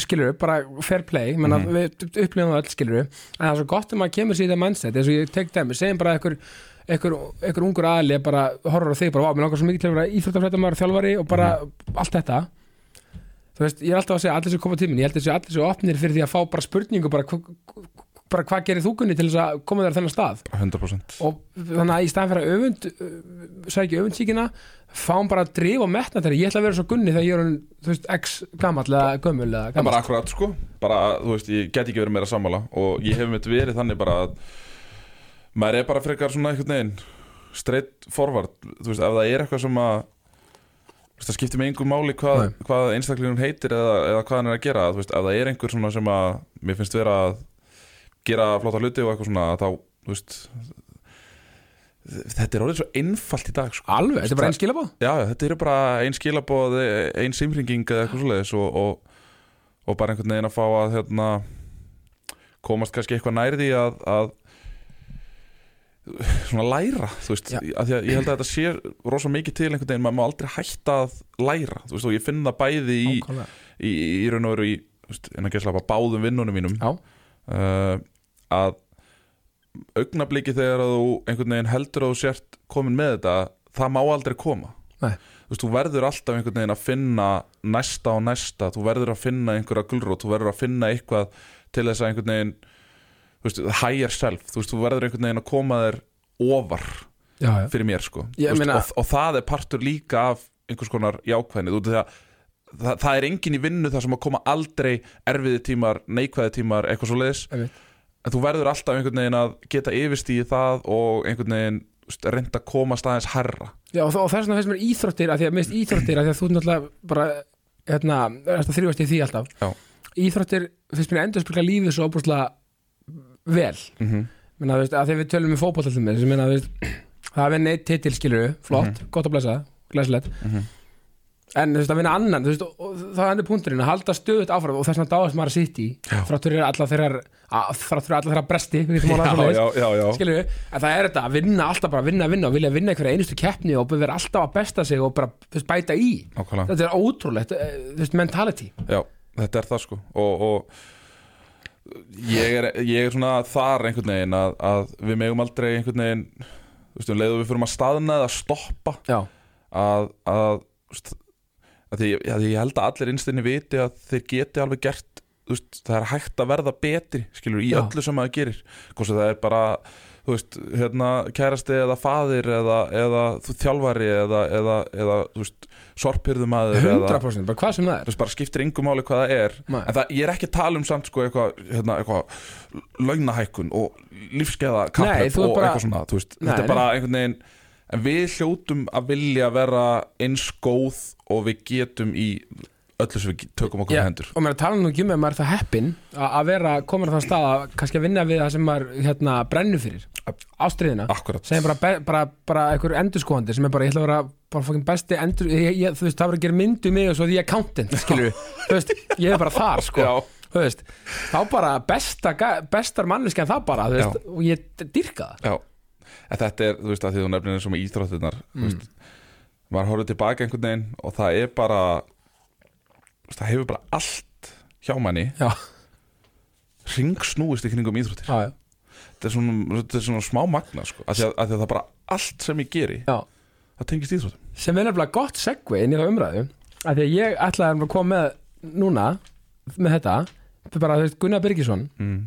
A: skilur Sko, bara fair play, mm -hmm. við upplifum það öll skilur en það er svo gott um að kemur sér í þetta mindset eins og ég tek dæmi, segjum bara einhver einhver, einhver ungur aðli er bara horfur á þig bara, vá, mér langar svo mikið til að vera íþróttafrættamæður þjálfari og bara allt þetta þú veist, ég er alltaf að segja allir sem koma tímin, ég held að þessu allir sem opnir fyrir því að fá bara spurningu, bara, hva- bara hvað gerir þú kunni til þess að koma þér á þennan stað
B: 100%
A: og þannig að í staðan fyrir að öfund uh, sækja öfundsíkina fáum bara að drif og metna þeirra ég ætla að vera svo gunni þegar ég er hann, þú veist, x gamall eða gömul eða
B: það er
A: gamall
B: bara akkurat sko bara, þú veist, ég get ekki verið meira sammála og ég hef mitt verið þannig bara að maður er bara frekar svona einhvern veginn straight forward þú veist, ef það er eitthvað sem að þú veist, það skiptir mig einhver máli hvað,
A: Nei.
B: hvað einstaklingun heitir eða, eða hvað hann er að gera þú veist, ef það er einhver svona sem að mér finnst vera að gera flotta hluti og eitthvað svona þá, þú veist þetta er orðið svo einfalt í dag sko.
A: alveg, þetta er bara einn skilabóð
B: Já, já, þetta eru bara ein skilabóð ein simringing eða eitthvað svoleiðis og, og, og bara einhvern veginn að fá að hérna, komast kannski eitthvað nærði að, að svona læra þú veist,
A: Já.
B: af því að ég held að þetta sé rosa mikið til einhvern veginn, maður má aldrei hætta að læra, þú veist, og ég finn það bæði í,
A: Nákvæmlega.
B: í, í, í raun og veru í þú veist, en að gæsla bara báðum vinnunum mínum
A: já,
B: uh, að augnabliki þegar að þú einhvern veginn heldur að þú sért komin með þetta það má aldrei koma
A: Nei.
B: þú, veist, þú verður alltaf einhvern veginn að finna næsta og næsta, þú verður að finna einhverja gulrót, þú verður að finna eitthvað til þess að einhvern veginn þú veist, higher self, þú, veist, þú verður einhvern veginn að koma þér ofar
A: já, já,
B: fyrir mér sko
A: Ég
B: Þú veist,
A: meina-
B: og, og það er partur líka af einhvers konar jákvæðni þú veist það Það, það er engin í vinnu þar sem að koma aldrei erfiði tímar, neikvæði tímar, eitthvað svo leiðis
A: Einmitt.
B: en þú verður alltaf einhvern veginn að geta yfirst í það og einhvern veginn þú veist, reynda að koma staðins herra
A: já og, þó- og þess vegna finnst mér íþróttir að því að minnst íþróttir að því að þú náttúrulega bara hérna, þetta þrjúast í því alltaf
B: Já.
A: íþróttir finnst mér endur spila lífið svo opúrslega vel
B: mm -hmm.
A: Menna, þú veist, að þegar við tölum um fótballtallum með menna, þú veist, það er vinna eitt titil skilur flott, gott að blessa, glæsilegt
B: Mhm.
A: en þú veist að vinna annan þú veist, og, og, það er endur punkturinn að halda stöðut áfram og þess vegna dáast maður að sitt í
B: Já.
A: þrátt fyrir alla þeirra að- þrátt fyrir alla þeirra bresti við getum orðað svoleiðis,
B: já, já
A: skilur en það er þetta að vinna alltaf bara vinna, vinna og vilja vinna einhverja einustu keppni og vera alltaf að besta sig og bara þú veist, bæta í
B: Nákvæmlega.
A: þetta er ótrúlegt, eh, þú veist, mentality
B: Já, þetta er það sko og, og ég er, ég er svona þar einhvern veginn að, að við megum aldrei einhvern veginn þú veist, um leiðum við fyrir að staðna eða stoppa
A: já,
B: að, að, þú veist, að, því, að því ég held að allir innstinni viti að þeir geti alveg gert þú veist, það er hægt að verða betri skilur, í
A: Já.
B: öllu sem maður gerir hvort sem það er bara þú veist, hérna, kærasti eða faðir eða, eða þú- þjálfari eða, eða, eða þú veist, sorphyrðumadur eða,
A: 100% bara hvað sem það
B: þú
A: er
B: veist, bara skiptir yngum máli hvað það er
A: Nei.
B: en það, ég er ekki að tala um samt sko eitthvað hérna, eitthva, launahækkun og lífskeiða
A: Nei, þú
B: kappleif
A: er
B: og
A: bara-
B: eitthvað svona þú veist,
A: Nei,
B: þetta
A: nei.
B: er bara einhvern veginn en við hljótum að vilja vera eins góð og við getum í öllu sem við ge- tökum okkur
A: Já,
B: yeah. hendur
A: og maður tala nú ekki um ef maður er það heppin að að vera komin á þann stað að kannski að vinna við það sem maður hérna, brennu fyrir ástriðina
B: akkurat,
A: sem er bara, be- bara, bara einhver endurskoðandi sem er bara, ég ætla að vera bara fokkin besti endur, ég, ég, þú veist, það var að gera myndu mig og svo því accountant, skilur þú veist, ég er bara þar, sko
B: Já.
A: þú veist, þá bara besta, ga- bestar manneski en það bara, þú veist, og ég d- dýrka það
B: já en þetta er, þú veist, að því þú nefnir eins og með íþróttirnar
A: Mm.
B: þú veist, maður horfður tilbaka einhvern veginn og það er bara þú veist, það hefur bara allt hjá manni,
A: já,
B: ringsnúist í kringum íþróttir
A: já, já,
B: þetta er svona, þetta er svona smá magna sko. af, því að, af því að það bara allt sem ég geri
A: já.
B: það tengist íþróttum
A: sem er nefnilega gott segvi inn í þá umræðu af því að ég ætlaði að koma með núna með þetta það er bara, þú veist, Gunnar Birgisson
B: mm.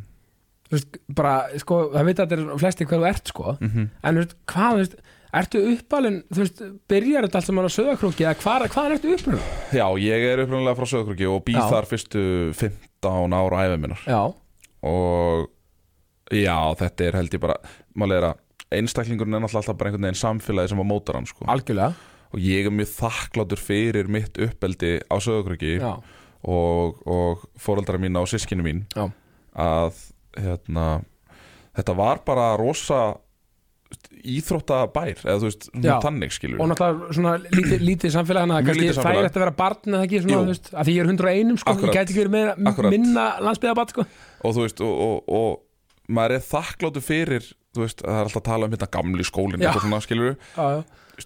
A: þú veist, bara, sko, það vita að þetta er flesti hver þú ert, sko en þú veist, hvað, þú veist, ertu uppalinn þú veist, byrjar þetta allt sem hann á söðakrúki eða hvað, hvaðan ertu uppalinn?
B: já, ég er upprunalega frá Söðkrukki og býð
A: Já.
B: þar fyrstu 15 ára æfið minnar
A: Já,
B: og já, þetta er held ég bara málega er að einstaklingurinn er náttúrulega alltaf bara einhvern veginn samfélagi sem að mótar hann sko.
A: algjörlega
B: og ég er mjög þakklátur fyrir mitt uppeldi á Söðkrukki
A: Já,
B: og, og fóröldra mína og sískinu mín
A: já,
B: að hérna, þetta var bara rosa íþróttabær eða þú veist, svona
A: Já.
B: tannig skilur
A: og náttúrulega svona lítið, lítið samfélag hann að
B: Mjög
A: kannski
B: lítið samfélag.
A: það er eftir að vera barn eða ekki, svona,
B: Jú.
A: þú veist, að því ég er 101 sko,
B: Akkurat.
A: ég gæti ekki verið meira,
B: Akkurat.
A: minna landsbyðabarn, sko
B: og þú veist, og, og, og maður er þakkláttu fyrir þú veist, það er alltaf að tala um hérna gamli skólinn
A: Já.
B: eitthvað svona skilur
A: Já, já,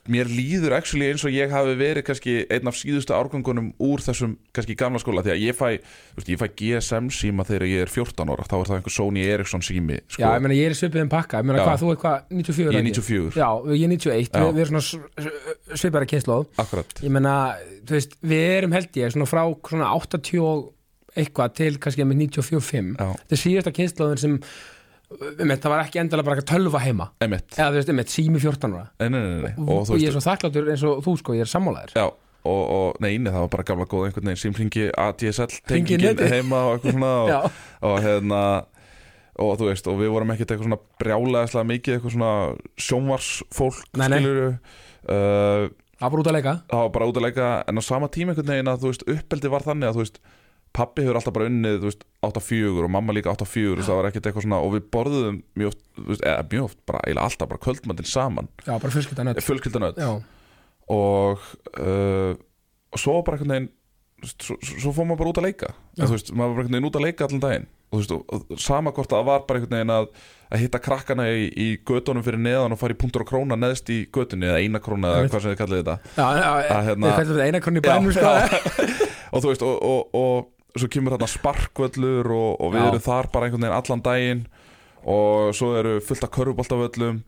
B: mér líður actually eins og ég hafi verið kannski einn af síðustu árgangunum úr þessum kannski gamla skóla, því að ég fæ þú veist, ég fæ GSM síma þegar ég er 14 ára þá er það einhver Sony Ericsson sími sko.
A: já ég meina, ég er í svipiðum pakka ég meina,
B: Já.
A: hvað, þú er hvað, 94?
B: ég er
A: ekki?
B: 94,
A: Já, ég er 91,
B: Já.
A: við, við erum svona svipara kynnslóð
B: akkurat
A: ég meina, þú veist, við erum held ég svona frá svona 80 og eitthvað til kannski með 94-5
B: Já.
A: þetta er síðasta kynnslóðin sem um þetta var ekki endilega bara eitthvað tölva heima
B: emitt,
A: eða þú veist, um þetta sími 14 ára
B: nei, nei, nei, nei.
A: og, ég er svo þakkláttur eins og þú sko, ég er sammálaður
B: Já, og, og neini, það var bara gamla góð einhvern veginn símringi ADSL
A: Hringi í
B: tengingin
A: netið.
B: heima og eitthvað svona
A: Já,
B: og, og hérna og þú veist, og við vorum ekkert eitthvað svona brjálæðislega mikið eitthvað svona sjónvarsfólk
A: Nei, nei.
B: skilurðu. Uh,
A: það var út að leika
B: það var bara út að leika en á sama tíma einhvern veginn að þú veist, uppeldi var þannig að þú veist, pappi hefur alltaf bara unnið þú veist, 8-4 og mamma líka 8-4 þú veist, það var ekkert eitthvað svona, og við borðuðum mjög oft, þú veist, eða mjög oft, bara eiginlega alltaf bara kvöldmöndin saman,
A: Já, bara fjölskyldan öll
B: fjölskyldan öll
A: Já,
B: og, uh, og svo bara einhvern veginn þú veist, svo, svo fór maður bara út að leika
A: Já.
B: en, þú veist, maður var bara einhvern veginn út að leika allan daginn og, þú veist, og, og sama hvort að það var bara einhvern veginn að, að hitta krakkana í, í götunum fyrir neðan og fara í punktur og króna neðst í götunni eða eina króna eða
A: Einmitt.
B: hvað sem þið kallið þetta
A: já, já,
B: Að
A: hérna,
B: hérna-
A: þetta er eina kronni í bænum sko
B: og þú veist og, og, og svo kemur þarna sparkvöllur og, og við
A: Já.
B: erum þar bara einhvern veginn allan daginn og svo eru fullt af körfuboltavöllum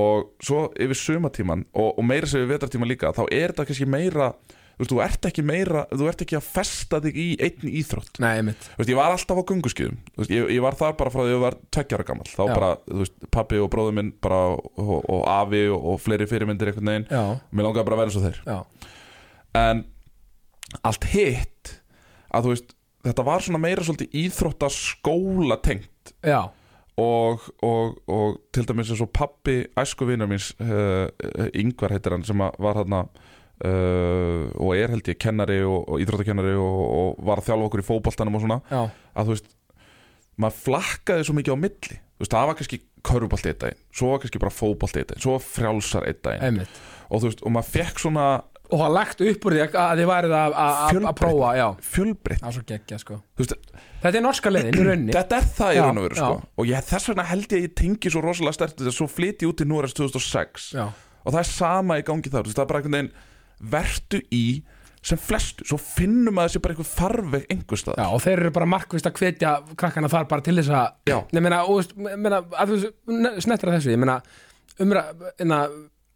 B: og svo yfir sumatíman og, og meira sem við vetartíman líka þá er þetta kannski meira þú, veist, þú ert ekki meira, þú ert ekki að festa þig í einn íþrótt
A: Nei, mitt,
B: Þú veist, ég var alltaf á gunguskiðum veist, ég, ég var þar bara frá því að ég var tveggjara gammal þá
A: Já.
B: bara, þú veist, pappi og bróður minn bara, og, og afi og, og fleiri fyrirmyndir einhvern veginn,
A: já,
B: mér langaði bara að vera eins og þeir
A: já
B: en allt hitt að þú veist, þetta var svona meira svolítið íþróttaskóla tengt
A: Já,
B: og, og, og til dæmis eins og pappi æskuvinur míns uh, yngvar heitir hann sem að var hann uh, og er held ég kennari og, og íþróttakennari og, og var að þjálfa okkur í fótboltanum og svona
A: já,
B: að þú veist maður flakkaði svo mikið á milli þú veist, það var kannski körfubolti eitt daginn svo var kannski bara fótbolti eitt daginn svo var frjálsar eitt daginn
A: einmitt
B: og þú veist, og maður fekk svona
A: Og það lagt upp úr því að- að þið værið að- að að- að
B: Fjölbreytni.
A: prófa, já
B: fjölbreytt
A: Það er svo geggja sko
B: þú veist,
A: Þetta er norska leiðin í rauninni
B: Þetta er það í
A: Já,
B: raun og veru sko.
A: já.
B: Og ég, þess vegna held ég að ég tengi svo rosalega stert Þess að svo flyt ég út í Núres 2006
A: Já,
B: Og það er sama í gangi þar þú veist, Það er bara einhvern veginn Vertu í sem flestu, svo finnum að þessi bara einhver farveg einhver stað
A: Já, og þeir eru bara markvist að hvetja krakkana þar bara til þess að
B: Já.
A: Ég meina, og, veist, ég meina að þú veist, ne- snettir að þessu, ég meina umra, inna,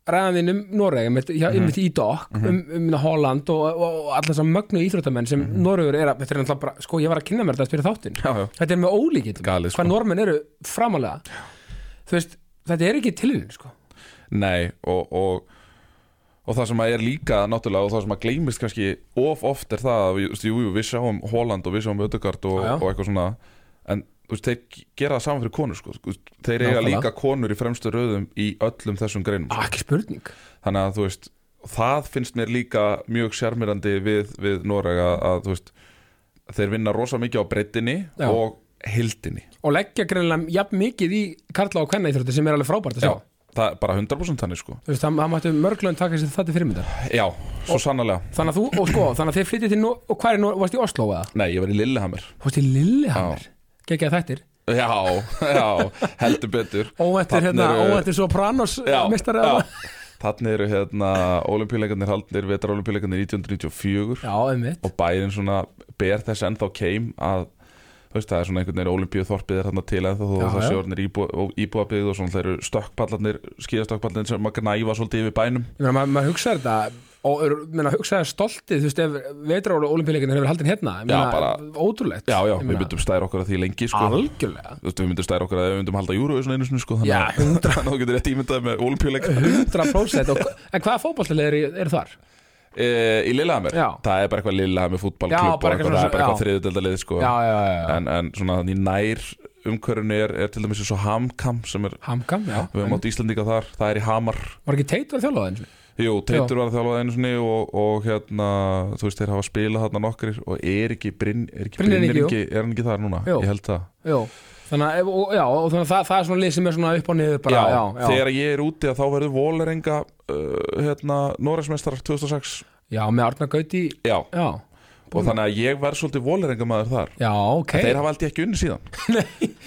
A: ræðan þín um Noreg einmitt,
B: Mhm.
A: hjá, einmitt í Dokk, um, um inna, Holland og, og, og allan sem mögnu íþróttamenn sem mm Noregur er að, þetta er náttúrulega bara sko, ég var að kynna mér þetta að spyrja þáttinn
B: Mhm. Já, já.
A: þetta er með ólíkitt,
B: Galið, sko.
A: hvað normenn eru framalega, þú veist þetta er ekki tilhjörn, sko
B: Nei, og, og, og það sem að er líka náttúrulega og það sem að gleymist kannski of oft er það að við, þú veist, jú, jú, við sjáum Holland og við sjáum Ödegard og,
A: Já, já.
B: og eitthvað svona en þú veist, þeir gera það saman fyrir konur sko. Þú veist, þeir eiga
A: Nákvæmlega.
B: líka konur í fremstu röðum í öllum þessum greinum
A: ah, ekki spurning,
B: þannig að þú veist það finnst mér líka mjög sjarmirandi við, við Norega að þú veist þeir vinna rosa mikið á breyttinni
A: Já.
B: og hildinni
A: og leggja greinlega jafn mikið í karla og kvenna íþrótti sem er alveg frábært að sjá,
B: Já, það er bara 100% þannig sko
A: þú veist, það, það mættu mörglönd taka sér þetta fyrirmyndar
B: Já, svo sannarlega
A: Þannig að þú, og sko, þannig að þið flyttið til Nó- og hvað er, Nó- varst í Oslo eða?
B: Nei, ég var í Lillehammer
A: Varst í Lillehammer Gekki að þættir
B: Já, já, heldur betur
A: Óvættir
B: Þarna
A: hérna,
B: eru-
A: óvættir Sopranos
B: Já,
A: mistari
B: já.
A: eða
B: Þannig eru hérna olimpíuleikarnir haldnir, vetar olimpíuleikarnir 1994
A: Já, einmitt
B: og bærin svona ber þess ennþá keim að þú veist, það er svona einhvern veginn olimpíuþorpið er þarna til ennþá þó
A: Já,
B: það
A: já.
B: séu orðinir íbúabíð og svona þeir eru stökkpallarnir, skíðastökkpallarnir sem að gnæfa svolítið yfir bænum
A: Ég meina, maður ma hugsa þetta og er- ég meina, hugsa það stoltið, þú veist, ef veitrála olimpíuleikin hefur haldin hérna, ég meina,
B: Já, bara-
A: ótrúlegt
B: Já, já,
A: Ég
B: við
A: meina,
B: myndum stæra okkur að því lengi sko.
A: Algjörlega
B: Þú veist, Við myndum stæra okkur að við myndum halda júru einu sinni sko, þannig
A: Já,
B: að- þannig að þú getur rétt ímyndað með
A: 100%
B: olimpíuleikar
A: og, En hvaða fótballtilegir eru þar?
B: e, í Lillehammer,
A: Já.
B: það er bara eitthvað Lillehammer
A: Já,
B: fútballklubb og
A: bara eitthvað
B: eitthvað, það
A: svona-
B: er bara eitthvað
A: já.
B: þriðudeldalið sko.
A: Já, já, já, já.
B: en, en svona þannig nær umhverjunni er, er til dæmis eins og Hamkam sem er,
A: Hamkam, já
B: við höfum átt Íslandíka þar það er í Hamar,
A: Var ekki teit var þjálfað eins og
B: jú, Teitur var að þjálfað einu sinni og, og hérna, þú veist, þeir hafa spilað þarna nokkrir og er ekki Bryn, er ekki
A: Brynjar
B: Brynjar
A: Ingi, jú.
B: Ingi, er hann ekki þar núna,
A: Jú.
B: ég held það
A: Jó, þannig að, ef- og, já, og þannig að það, það er svona lið sem er svona upp og niður bara, já, já,
B: þegar ég er úti að þá verður Vólerenga uh, hérna, Noresmestrar 2006
A: já með Arna Gauti
B: já,
A: Já,
B: og þannig að ég verð svolítið Vólerenga maður þar
A: já, ok
B: þeir hafa aldrei ekki unni síðan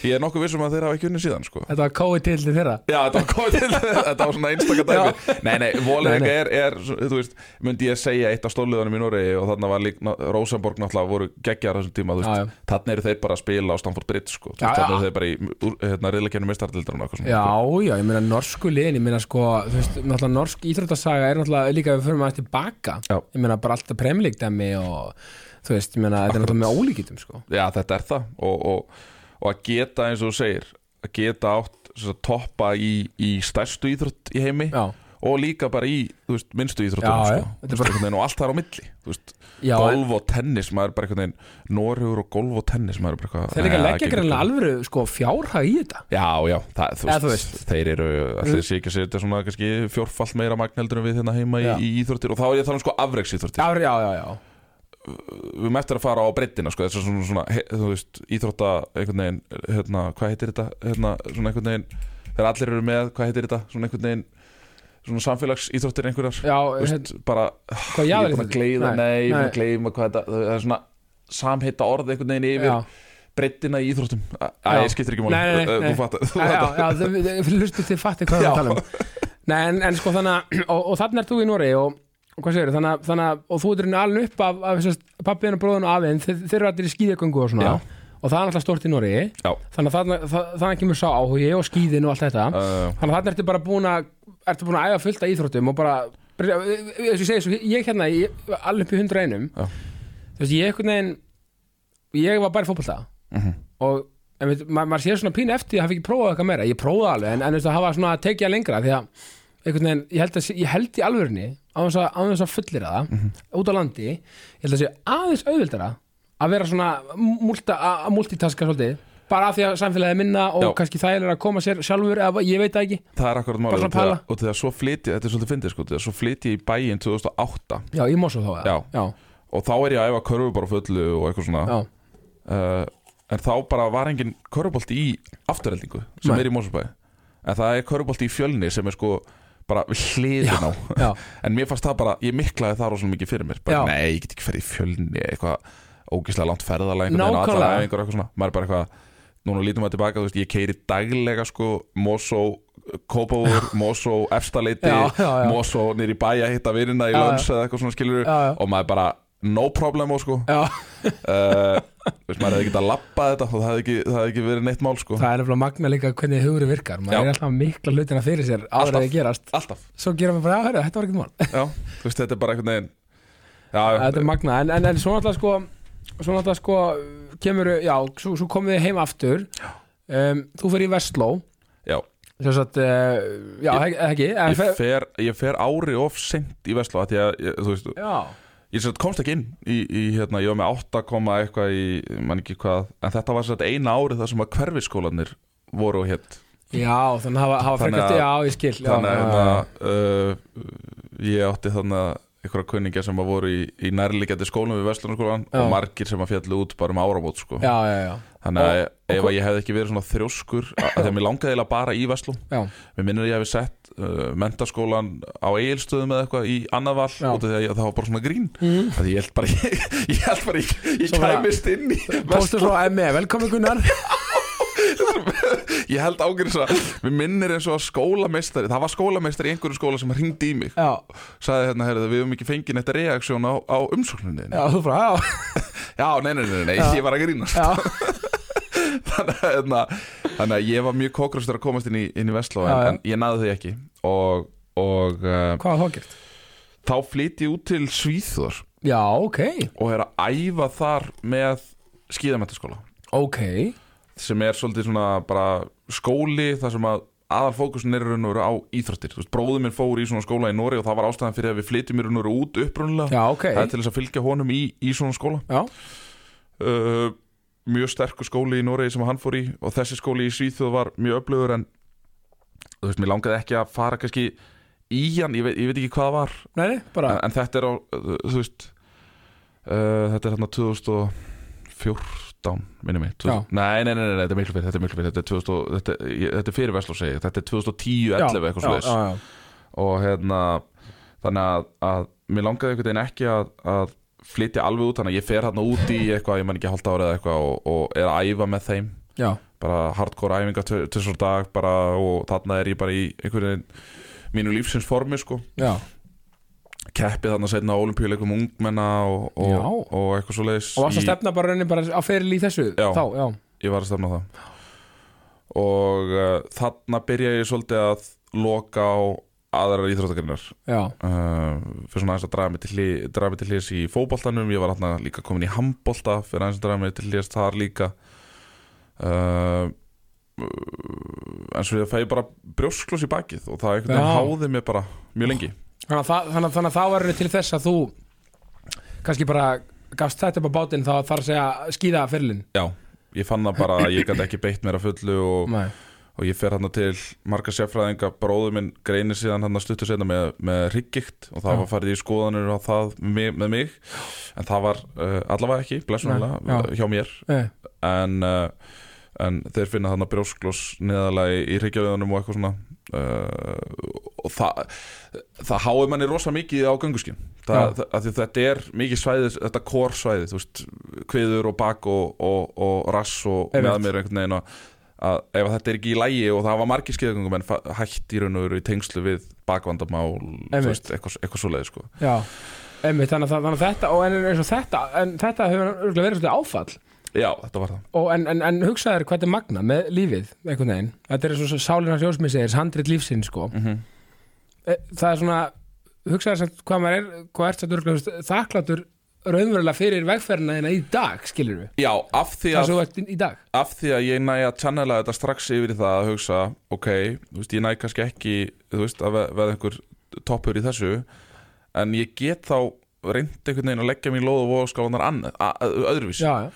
B: ég er nokkuð vissum að þeir hafa ekki unni síðan sko.
A: Þetta var kóið til þeirra
B: Já, þetta var komið til þetta var svona einstaka dæmi Nei, nei, Vólerenga
A: Nei,
B: er, er, þú veist, myndi ég segja eitt af stóliðunum í Noregi og þarna var líka, Rosenborg náttúrulega voru geggjar á þessum tíma, þú
A: Já, já.
B: veist, þarna eru þeir bara að spila á Stamford Bridge, sko, þú
A: Já,
B: veist,
A: já.
B: þarna eru þeir bara í úr- hérna, riðlakefni mestardildrun og eitthvað svona,
A: Já, já, ég meina norsku liðin Ég meina sko, þú veist, náttúrulega norsk íþróttasaga er náttúrulega líka við fyrir maður tilbaka
B: Já.
A: Ég meina bara alltaf premlíkdæmi og þú veist, ég meina þetta er náttúrulega með ólíkitum sko
B: sko. Já, þetta er það og, og, og að geta, eins og þú segir að geta átt þess að toppa í, í stærstu íþrótt í heimi
A: Já,
B: og líka bara í, þú veist, minnstu
A: Já,
B: íþróttunum,
A: já.
B: sko,
A: Þetta er
B: Þú veist, einhvern veginn og allt þar á milli, þú veist
A: já en
B: golf og tennis, maður er bara einhvern veginn Norhugur og golf og tennis, maður er bara eitthvað
A: Þeir líka
B: Nei,
A: leggja
B: það gengur
A: greinlega alvöru sko fjárhag í þetta
B: ekki. Já, já, það, þú,
A: Eða
B: veist,
A: þú veist.
B: þeir eru, þeir sé ekki að setja svona kannski fjórfalt meira magn heldur en við hérna heima í,
A: Já.
B: í íþróttir og þá er ég að tala um sko afreiksíþróttir
A: Já, já, já, já
B: Við erum eftir að fara á breyttina sko, þessar svona, svona, he, þú veist, íþrótta einhvern veginn, hérna, hvað heitir þetta, hérna, svona einhvern veginn þegar allir eru með, hvað heitir þetta, svona einhvern veginn svona samfélagsíþróttir einhverjar
A: Já,
B: þú
A: hérna,
B: veist, bara
A: hvað
B: ég er
A: jaðar
B: búin að gleyða, nei, ég er búin að
A: nei,
B: gleyma hvað þetta, það er svona samheita orð einhvern veginn yfir
A: já
B: breyttina í íþróttum Æ, æ,
A: Já.
B: ég skiptir ekki máli
A: Nei, nei, nei,
B: Ö,
A: nei.
B: Þú fattar þú
A: Já, já, já,
B: fattar.
A: þau- þau- þau- hlustu þið fattið hvað við erum að tala um Nei, en, en sko þannig að og, og þannig er þú í Noregi og, og hvað segir þannig, að- þannig að, og þú ert í rauninni alveg upp af, af pappiðin og bróðin og afinn þeir, þeir eru allir í skíðagöngu og svona
B: Já.
A: og það er alltaf stort í Noregi
B: Já.
A: þannig að þannig, þannig kemur sá áhugi og skíðin og allt þetta
B: Ö,
A: þannig að þannig ertu bara búin að ertu búin að æfa fullt af íþróttum og bara bara- eins og ég segi, svo, ég hérna ég, alveg upp í hundra einum
B: Já.
A: þú veist, ég einhvern veginn ég var bara í fótbolta
B: mhm.
A: og en veit, ma maður sé svona pínu eftir því að hafa ekki prófað eitthvað meira, ég prófaði alveg en, en veist, það hafa svona að tekja lengra því að einhvern veginn, ég held, að, sé- ég held í alvörni á þess að, á þess að fullir það
B: Mhm.
A: út á landi, ég held að sé aðeins auðvildara að vera svona multa, að að multitaska svolítið bara af því að samfélagið er minna og
B: Já.
A: kannski það er að koma sér sjálfur eða ég veit það ekki
B: Það er akkurat
A: Bara
B: máli
A: svona
B: og þegar-
A: pæla.
B: og þegar svo flytja, þetta er svolítið fyndið sko, þegar svo flytja í bæinn 2008
A: já, ég mósa þá eða.
B: Já.
A: Já.
B: og þá er ég að æfa körfu bara á fullu og eitthvað svona
A: Já.
B: uh, en þá bara var engin körfubolt í afturheldingu sem
A: Nei.
B: er í Mósabæ en það er körfubolt í fjölni sem er sko bara við hliðin á
A: Já.
B: en mér fannst það bara, ég miklaði það rosalega mikið fyrir mér bara,
A: Já.
B: nei, ég get ekki ferð í fjölni eitthvað ógislega langt ferðalega
A: Nákvæmlega.
B: eitthvað svona, maður er bara eitthvað núna lítum að tilbaka, þú veist, ég keiri daglega sko, Mosó, Kópavur Mosó, Efstaleiti
A: Já, já, já.
B: Mosó, nýri bæ að hitta vinina
A: Já,
B: í
A: já.
B: Löns eða eitthvað svona skilur
A: Já, já.
B: og maður bara, no problemo sko uh,
A: Já,
B: veist, maður hefði ekki að labba þetta og það hefði ekki, það hefði ekki verið neitt mál sko
A: það er nefnilega magna líka hvernig hugur virkar, maður
B: Já.
A: er alltaf með mikla hlutina fyrir sér áður
B: Alltaf.
A: að þið gerast
B: alltaf,
A: svo gera við bara, já, hörru, þetta var ekkert mál
B: já, þú veist, þetta er bara einhvern veginn já,
A: þetta er magna, en, en, en svo náttúrulega sko svo náttúrulega sko kemur, já, svo, svo komið þið heim aftur um, þú fyrir í Vestló
B: já,
A: sem sagt, uh, já, ég, ekki en,
B: ég
A: fer,
B: fer, ég fer ári of sent í Vestló, því að, ég, þú veist,
A: já,
B: ég sem sagt komst ekki inn í, í hérna, ég var með 8 koma eitthvað í, ég man ekki hvað, en þetta var sem sagt eina árið þar sem að hverfiskólanir voru hétt,
A: já, þannig að hafa, hafa
B: Þannig
A: frekast
B: að-
A: já, ég skil, já,
B: þannig að
A: já, já.
B: hérna, uh, ég átti þannig að einhverja kunningja sem að voru í, í nærliggjandi skólum við Vestlunarskólan
A: Já.
B: og margir sem að fjallu út bara um áramót sko.
A: já, já, já,
B: þannig að ef að ég hefði ekki verið svona þrjóskur að að því að mér langaði eiginlega bara í Vestlun
A: já,
B: Mér minnir að ég hefði sett uh, mentaskólan á eigilstöðum eða eitthvað í annað val
A: Já. Mhm.
B: út af því að ég, það var bara svona grín mm. að ég held bara, ég, ég held bara ég, ég
A: Svo bara-
B: kæmist inn í
A: postur frá ME, velkomin Gunnar
B: Vestló- ég held ágæris að mér minnir eins og að skólameistari það var skólameistari í einhverju skóla sem hringdi í mig
A: já,
B: sagði hérna, heyrðu, við höfum ekki fengið neitt reaksjón á, á umsókninni
A: já, þú frá, já,
B: já, nei, nei, nei, nei,
A: Já.
B: ég var að grínast
A: já,
B: þannig, að, hérna, þannig að ég var mjög kókrastur að komast inn í, inn í Vestló
A: Já, já.
B: en, en ég naði því ekki og, og uh,
A: hvað þá gert
B: þá flyt ég út til Svíþór
A: já, ok,
B: og er að æfa þar með skíðamættaskóla
A: ok
B: sem er svolítið svona bara skóli þar sem að aðal fókusin er í raun og veru á íþróttir Þú veist, bróður minn fór í svona skóla í Nóri og það var ástæðan fyrir að við flytjum í raun og veru út upprunnulega
A: já, ok,
B: það er til þess að fylgja honum í, í svona skóla
A: já,
B: uh, mjög sterkur skóli í Nóri sem hann fór í og þessi skóli í Svíþjóð var mjög öflugur en þú veist, mér langaði ekki að fara kannski í hann, ég veit, ég veit ekki hvað það var
A: nei, nei, bara
B: en, en þetta er á, uh, þú veist uh, þetta er hérna 2014 minni mig 2000, nei, nei, nei, nei, nei, þetta er miklu fyrir þetta er miklu fyrir, þetta er, 2000, og- þetta, ég, þetta er fyrir Vestló segi, ég, þetta er 2010, 11 eitthvað
A: já,
B: svo
A: já, já,
B: og hérna þannig að, að mér langaði einhvern veginn ekki að, að flytja alveg út, þannig að ég fer hérna út í eitthvað, ég man ekki halda árið eða eitthvað og, og er að æfa með þeim
A: já,
B: bara hardcore æfingar tvisar dag bara, og þarna er ég bara í einhvern veginn mínu lífsins formi sko
A: já,
B: keppið þarna setna á olimpíuleikum ungmenna og,
A: Já.
B: og, og eitthvað svo leiðis
A: og varst að stefna bara raunin bara á feril í þessu
B: Já.
A: þá, já,
B: Ég var að stefna á það og uh, þarna byrja ég svolítið að loka á aðrar íþróttakarinnar
A: já,
B: uh, fyrir svona aðeins að draga mig til, hli, draga mig til hliðs í fótboltanum ég var þarna líka komin í handbolta fyrir aðeins að draga mig til hliðs þar líka uh, en svo ég fæði bara brjósklos í bakið og það einhvern
A: Já.
B: veginn háði mér bara mjög lengi
A: þannig að, það- þannig, að- þannig að það var raunin til þess að þú kannski bara gafst þetta upp á bátinn þá þarf að segja skýða ferilinn
B: Já, ég fann það bara að ég gæti ekki beitt mér að fullu og,
A: nei,
B: og ég fer hérna til marga sérfræðinga, bróður minn greinir síðan hann að stuttu sérna með, með riggikt og það
A: Já.
B: var farið í skoðanur á það með, með mig en það var uh, allavega ekki, blessunlega,
A: Nei,
B: hjá mér
A: nei,
B: en, uh, en þeir finna þannig brjóskloss neðalega í, í hryggjaðunum og eitthvað svona uh, og það það háir manni rosa mikið á gönguskinn
A: Já.
B: það, það, af því að þetta er mikið svæðið þetta core svæðið, þú veist kviður og bak og, og, og rass og
A: Einmitt.
B: meðmir einhvern veginn að, að ef þetta er ekki í lægi og það var margir skeiðgöngum en hætt í raun og veru í tengslu við bakvandamál, þú
A: Einmitt.
B: veist, eitthvað, eitthvað svoleiði sko.
A: já Einmitt, þannig, að, það- þannig að þetta, og en eins og þetta en þetta hefur örugglega verið svolítið áfall
B: já, þetta var það
A: og en, en, en hugsaður hvað þetta er magna með lífið einhvern veginn, þetta er eins og sálinna hljósmiðsegir, handrit lífsinn sko
B: Mhm.
A: E, það er svona hugsaður sem hvað maður er, hvað ert þetta örugglega þakklátur raunverulega fyrir vegferðina þína í dag, skilur við
B: já, af því
A: það
B: að
A: sem þú ert í- í dag
B: af því að ég næ að channela þetta strax yfir í það að hugsa ok, þú veist, ég næ kannski ekki þú veist, að ve- verða einhver toppur í þessu en ég get þá reynd einhvern veginn að leggja mér lóð og vogaskálanar öðruvís
A: já, já,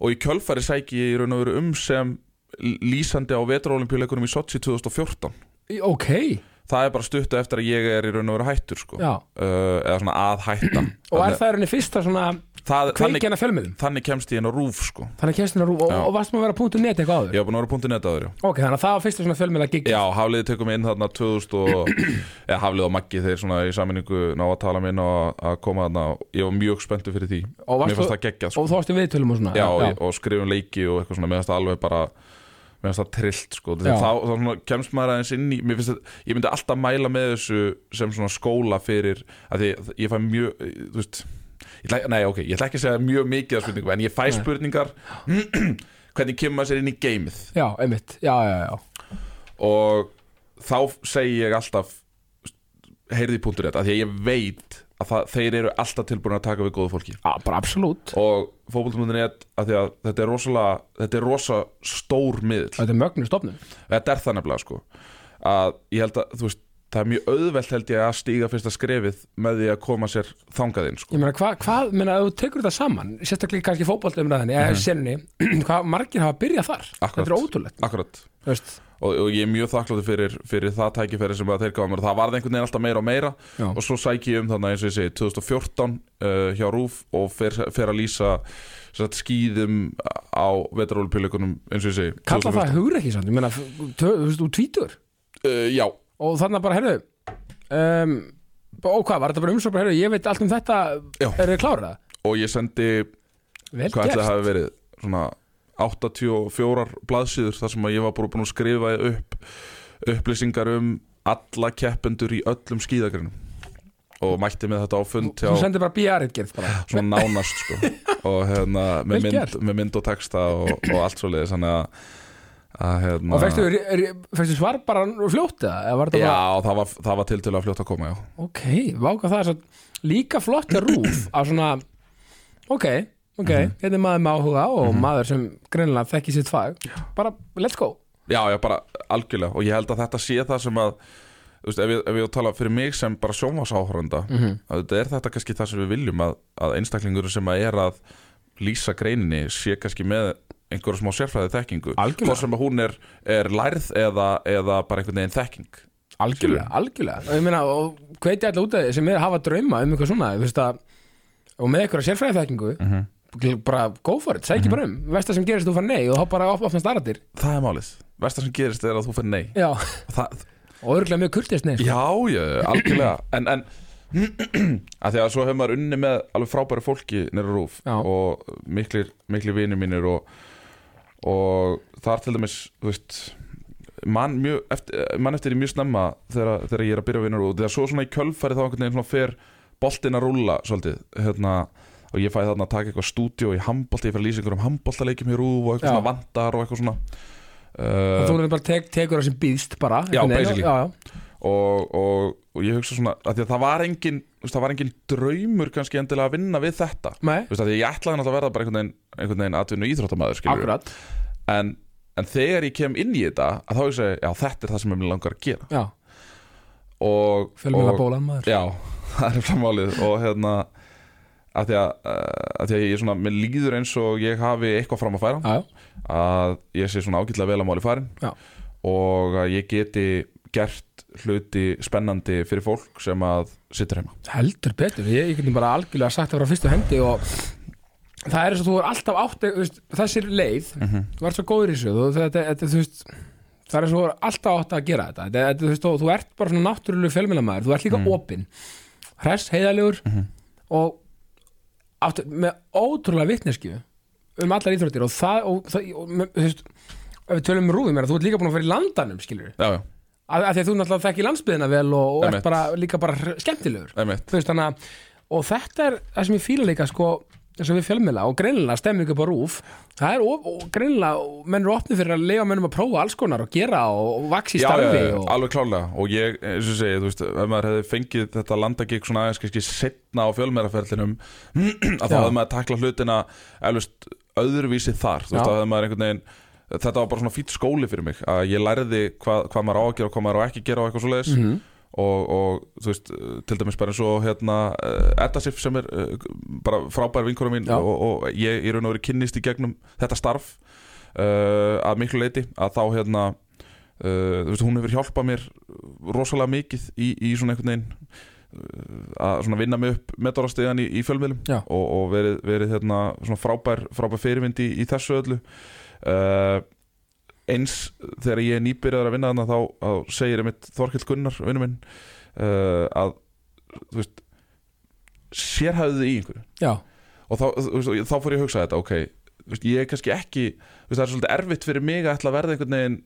B: og í kjölfæri sæki ég í raun og veru um sem lýsandi á vetraolimpíuleikunum í Sochi 2014
A: Í- ok
B: það er bara stuttu eftir að ég er í raun og veru hættur sko.
A: Já.
B: uh, eða svona að hætta
A: og er
B: þannig,
A: það í rauninni fyrsta svona
B: það, þannig,
A: kveikjana fjölmiðum
B: þannig kemst ég inn á rúf sko.
A: þannig að kemstina rúf og,
B: Já.
A: og varst maður að vera punktu net eitthvað áður
B: ég var búin að vera punktin þetta áður já.
A: ok, þannig að það var fyrsta svona fjölmiða gig
B: Já, Hafliði tekur mig inn þarna 2000 og, eða Hafliði og Maggi þeir svona í saminningu ná að tala minn og að koma þarna og ég var mjög spenntu fyrir því
A: Og varst
B: Mér fannst
A: þú-
B: það geggjað sko.
A: og þú varst í viðtölum og svona
B: Já, og, og skrifum leiki og eitthvað svona Mér finnst það alveg bara Mér finnst það trillt sko
A: Já.
B: Þegar þá, þá svona, kemst maður aðeins inn í mér finnst það, Ég myndi alltaf mæla með þessu sem svona skóla fyrir að því að ég fæ mjög Þú veist ég ætla, Nei, ok, ég ætla ekki að segja mjög mikið af spurningum En ég fæ spurningar Hvernig kemur maður sér inn í geimið
A: já, einmitt, já, já, já
B: og þá segi ég alltaf heyrði í punktur þetta, því að ég veit að það, þeir eru alltaf tilbúin að taka við góðu fólki
A: Já, bara absolutt
B: og fótboltum.net að því að þetta er rosalega þetta er rosa stór miðl
A: Þetta er mögnu stofnun
B: þetta er það nefnilega sko að ég held að þú veist það er mjög auðvelt held ég að stíga fyrsta skrefið með því að koma sér þangað inn sko.
A: Ég meina, hvað, hva, meina, ef þú tekur þetta saman Sérstaklega kannski fótboltumræðinni mm
B: Mhm.
A: -hmm. Senni, hvað margir hafa byrjað þar
B: Akkurat.
A: Þetta er ótrúlegt
B: akkurat
A: Þú veist,
B: og, og ég er mjög þakkláttur fyrir, fyrir það tækifæri sem að þeir gafa mér og það varði einhvern veginn alltaf meira og meira
A: Já.
B: og svo sæki ég um þannig eins og ég segi 2014 uh, hjá Rúf og fer, fer að lýsa sem sagt, skýðum á vetarólpillikunum eins og ég segi
A: Kalla
B: 2014.
A: það hugur ekki samt Ég meina, f- tö- þú veist, úr tvítur
B: uh, Já,
A: Og þannig bara, herðu um, Og hvað, var þetta bara umsókn bara, Herðu, ég veit allt um þetta
B: Já.
A: Er þið klárað?
B: og ég sendi
A: Vel
B: hvað ætlaði að
A: gert
B: hafa verið svona 84 blaðsýður þar sem að ég var bara búin að skrifa upp upplýsingar um alla keppendur í öllum skýðagrinum og mætti með þetta á fund hjá-
A: Þú sendir bara BR-itgerð bara
B: svona nánast sko og hérna
A: Vel
B: með mynd,
A: gert.
B: með mynd og texta og, og allt svo leiðis þannig að, að hérna,
A: Og fæstu, fæstu svar bara fljótt eða? Eða var þetta bara
B: Já, það var, það var til til að fljóta að koma, já
A: Ok, váka það er svo líka flott að rúf að svona ok, ok,
B: Mhm.
A: þetta er maður með áhuga og maður sem greinlega þekki sitt fag bara let's go
B: Já, já, bara algjörlega og ég held að þetta sé það sem að þú veist, ef, ég, ef ég tala fyrir mig sem bara sjónvarsáhorenda mm
A: Mhm.
B: -hmm. þetta er þetta kannski það sem við viljum að, að einstaklingur sem að er að lýsa greininni sé kannski með einhverja smá sérfræði þekkingu
A: Algjörlega.
B: Hvort sem að hún er, er lærð eða, eða bara einhvern veginn þekking
A: algjörlega, algjörlega og ég meina, og hveiti alltaf út að sem er að hafa drauma um eitthvað svona, þú veist að og með eitthvað sérfræði þekkingu
B: Mhm.
A: bara go for it, sækji bara um veist það sem gerist þú fara nei og þá bara op- opnast aðratir
B: Það er málið, versta sem gerist er að þú fyrir nei
A: já,
B: það,
A: og örgulega mjög kurtist nei sko.
B: Já, já, algjörlega En, en að því að svo hefur maður unni með alveg frábæri fólki nýra rúf
A: Já.
B: og miklir, miklir vinir mínir og, og þar til dæmis þú veist mann, mjög, eftir, mann eftir í mjög snemma þegar, þegar ég er að byrja að vinna rúf þegar svo svona í kjölfæri þá einhvern veginn svona fer boltinn að rúlla svolítið hérna, og ég fæði þarna að taka eitthvað stúdíó í handbolti, ég fer að lýsa einhverjum handboltaleikjum í rúf og eitthvað
A: Já.
B: svona vandar og eitthvað svona
A: og
B: uh,
A: þú er bara tek, tekur það sem býðst bara
B: Já,
A: einhvern veginn,
B: basically.
A: já, já.
B: og, og, og ég hugsa svona að, að það var engin þú veist, það var engin draumur kannski endilega að vinna við þetta Þú
A: Nei,
B: veist, að ég ætlaði náttúrulega að verða bara einhvern veginn, einhvern veginn atvinnu íþróttamaður skilur
A: akkurat
B: en, en þegar ég kem inn í þetta að þá hugsa ég, já þetta er það sem ég mér langar að gera
A: já,
B: og,
A: fjölmjöla
B: og-
A: bólan maður
B: Já, það er framálið og hérna að því að, að, því að ég er svona, mér líður eins og ég hafi eitthvað fram að færa
A: já, já,
B: að ég sé svona ágætlega vel að máli farin
A: Já.
B: og að ég geti gert hluti spennandi fyrir fólk sem að sittur heima
A: Heldur betur, ég, ég getum bara algjörlega sagt það frá fyrstu hendi og það er eins og þú er alltaf átt þú veist, þessir leið, þú ert svo góður í þessu þú, þetta, þetta, þú veist það er eins og þú er alltaf átt að gera þetta, þetta, þetta þú, veist, og, þú ert bara svona náttúrulega fjölmjölamæður þú ert líka opinn, hress, heiðalegur og átt, með ótrúlega vitneskju um allar íþróttir og það, og, það og, með, þú veist, ef við tölum um rúðum er að þú ert líka búin að fara í landanum skilur
B: Já, já,
A: að, að því að þú náttúrulega þekki landsbyðina vel og, og ert
B: Einmitt.
A: bara, líka bara hr- skemmtilegur
B: einmitt
A: þú veist þannig að og þetta er það sem ég fíla líka sko eins og við fjölmiðla og greinilega stemmingu upp á rúf það er of, og greinilega menn eru opni fyrir að leifa mennum að prófa alls konar og gera og, og vaks í
B: Já, já,
A: starfi
B: já,
A: og,
B: alveg klálega og ég, eins og segi, þú veist, ef maður hefði fengið þetta landagík svona aðeins kannski setna á fjölmeðraferlinum að þá
A: Já.
B: hefði maður takla hlutina eflust öðruvísi þar, þú
A: Já.
B: veist, þá hefði maður einhvern veginn þetta var bara svona fýtt skóli fyrir mig að ég lærði hvað, hvað maður á að gera og hvað maður á ekki að gera og eitthvað svoleiðis
A: Mhm.
B: og, og þú veist, til dæmis bara eins og hérna, eh, Edda Sif sem er eh, bara frábær vinkora mín
A: Já.
B: og, og ég eh, í raun og verið kynnist í gegnum þetta starf uh, að miklu leiti að þá hérna uh, þú veist, hún hefur hjálpað mér rosalega mikið í, í svona einhvern veginn uh, að svona vinna mig upp metorastegjan í, í fjölmiðlum
A: Já.
B: og, og verið, verið hérna, svona frábær, frábær fyrirmynd í, í þessu öllu uh, eins þegar ég er nýbyrjaður að vinna þarna þá, þá segir einmitt Þorkill Gunnar vinnu minn uh, að þú veist sérhæfðu þig í einhverju
A: já,
B: og þá, þú veist, og þá fór ég að hugsa þetta ok, þú veist, ég er kannski ekki þú veist, það er svolítið erfitt fyrir mig að ætla að verða einhvern veginn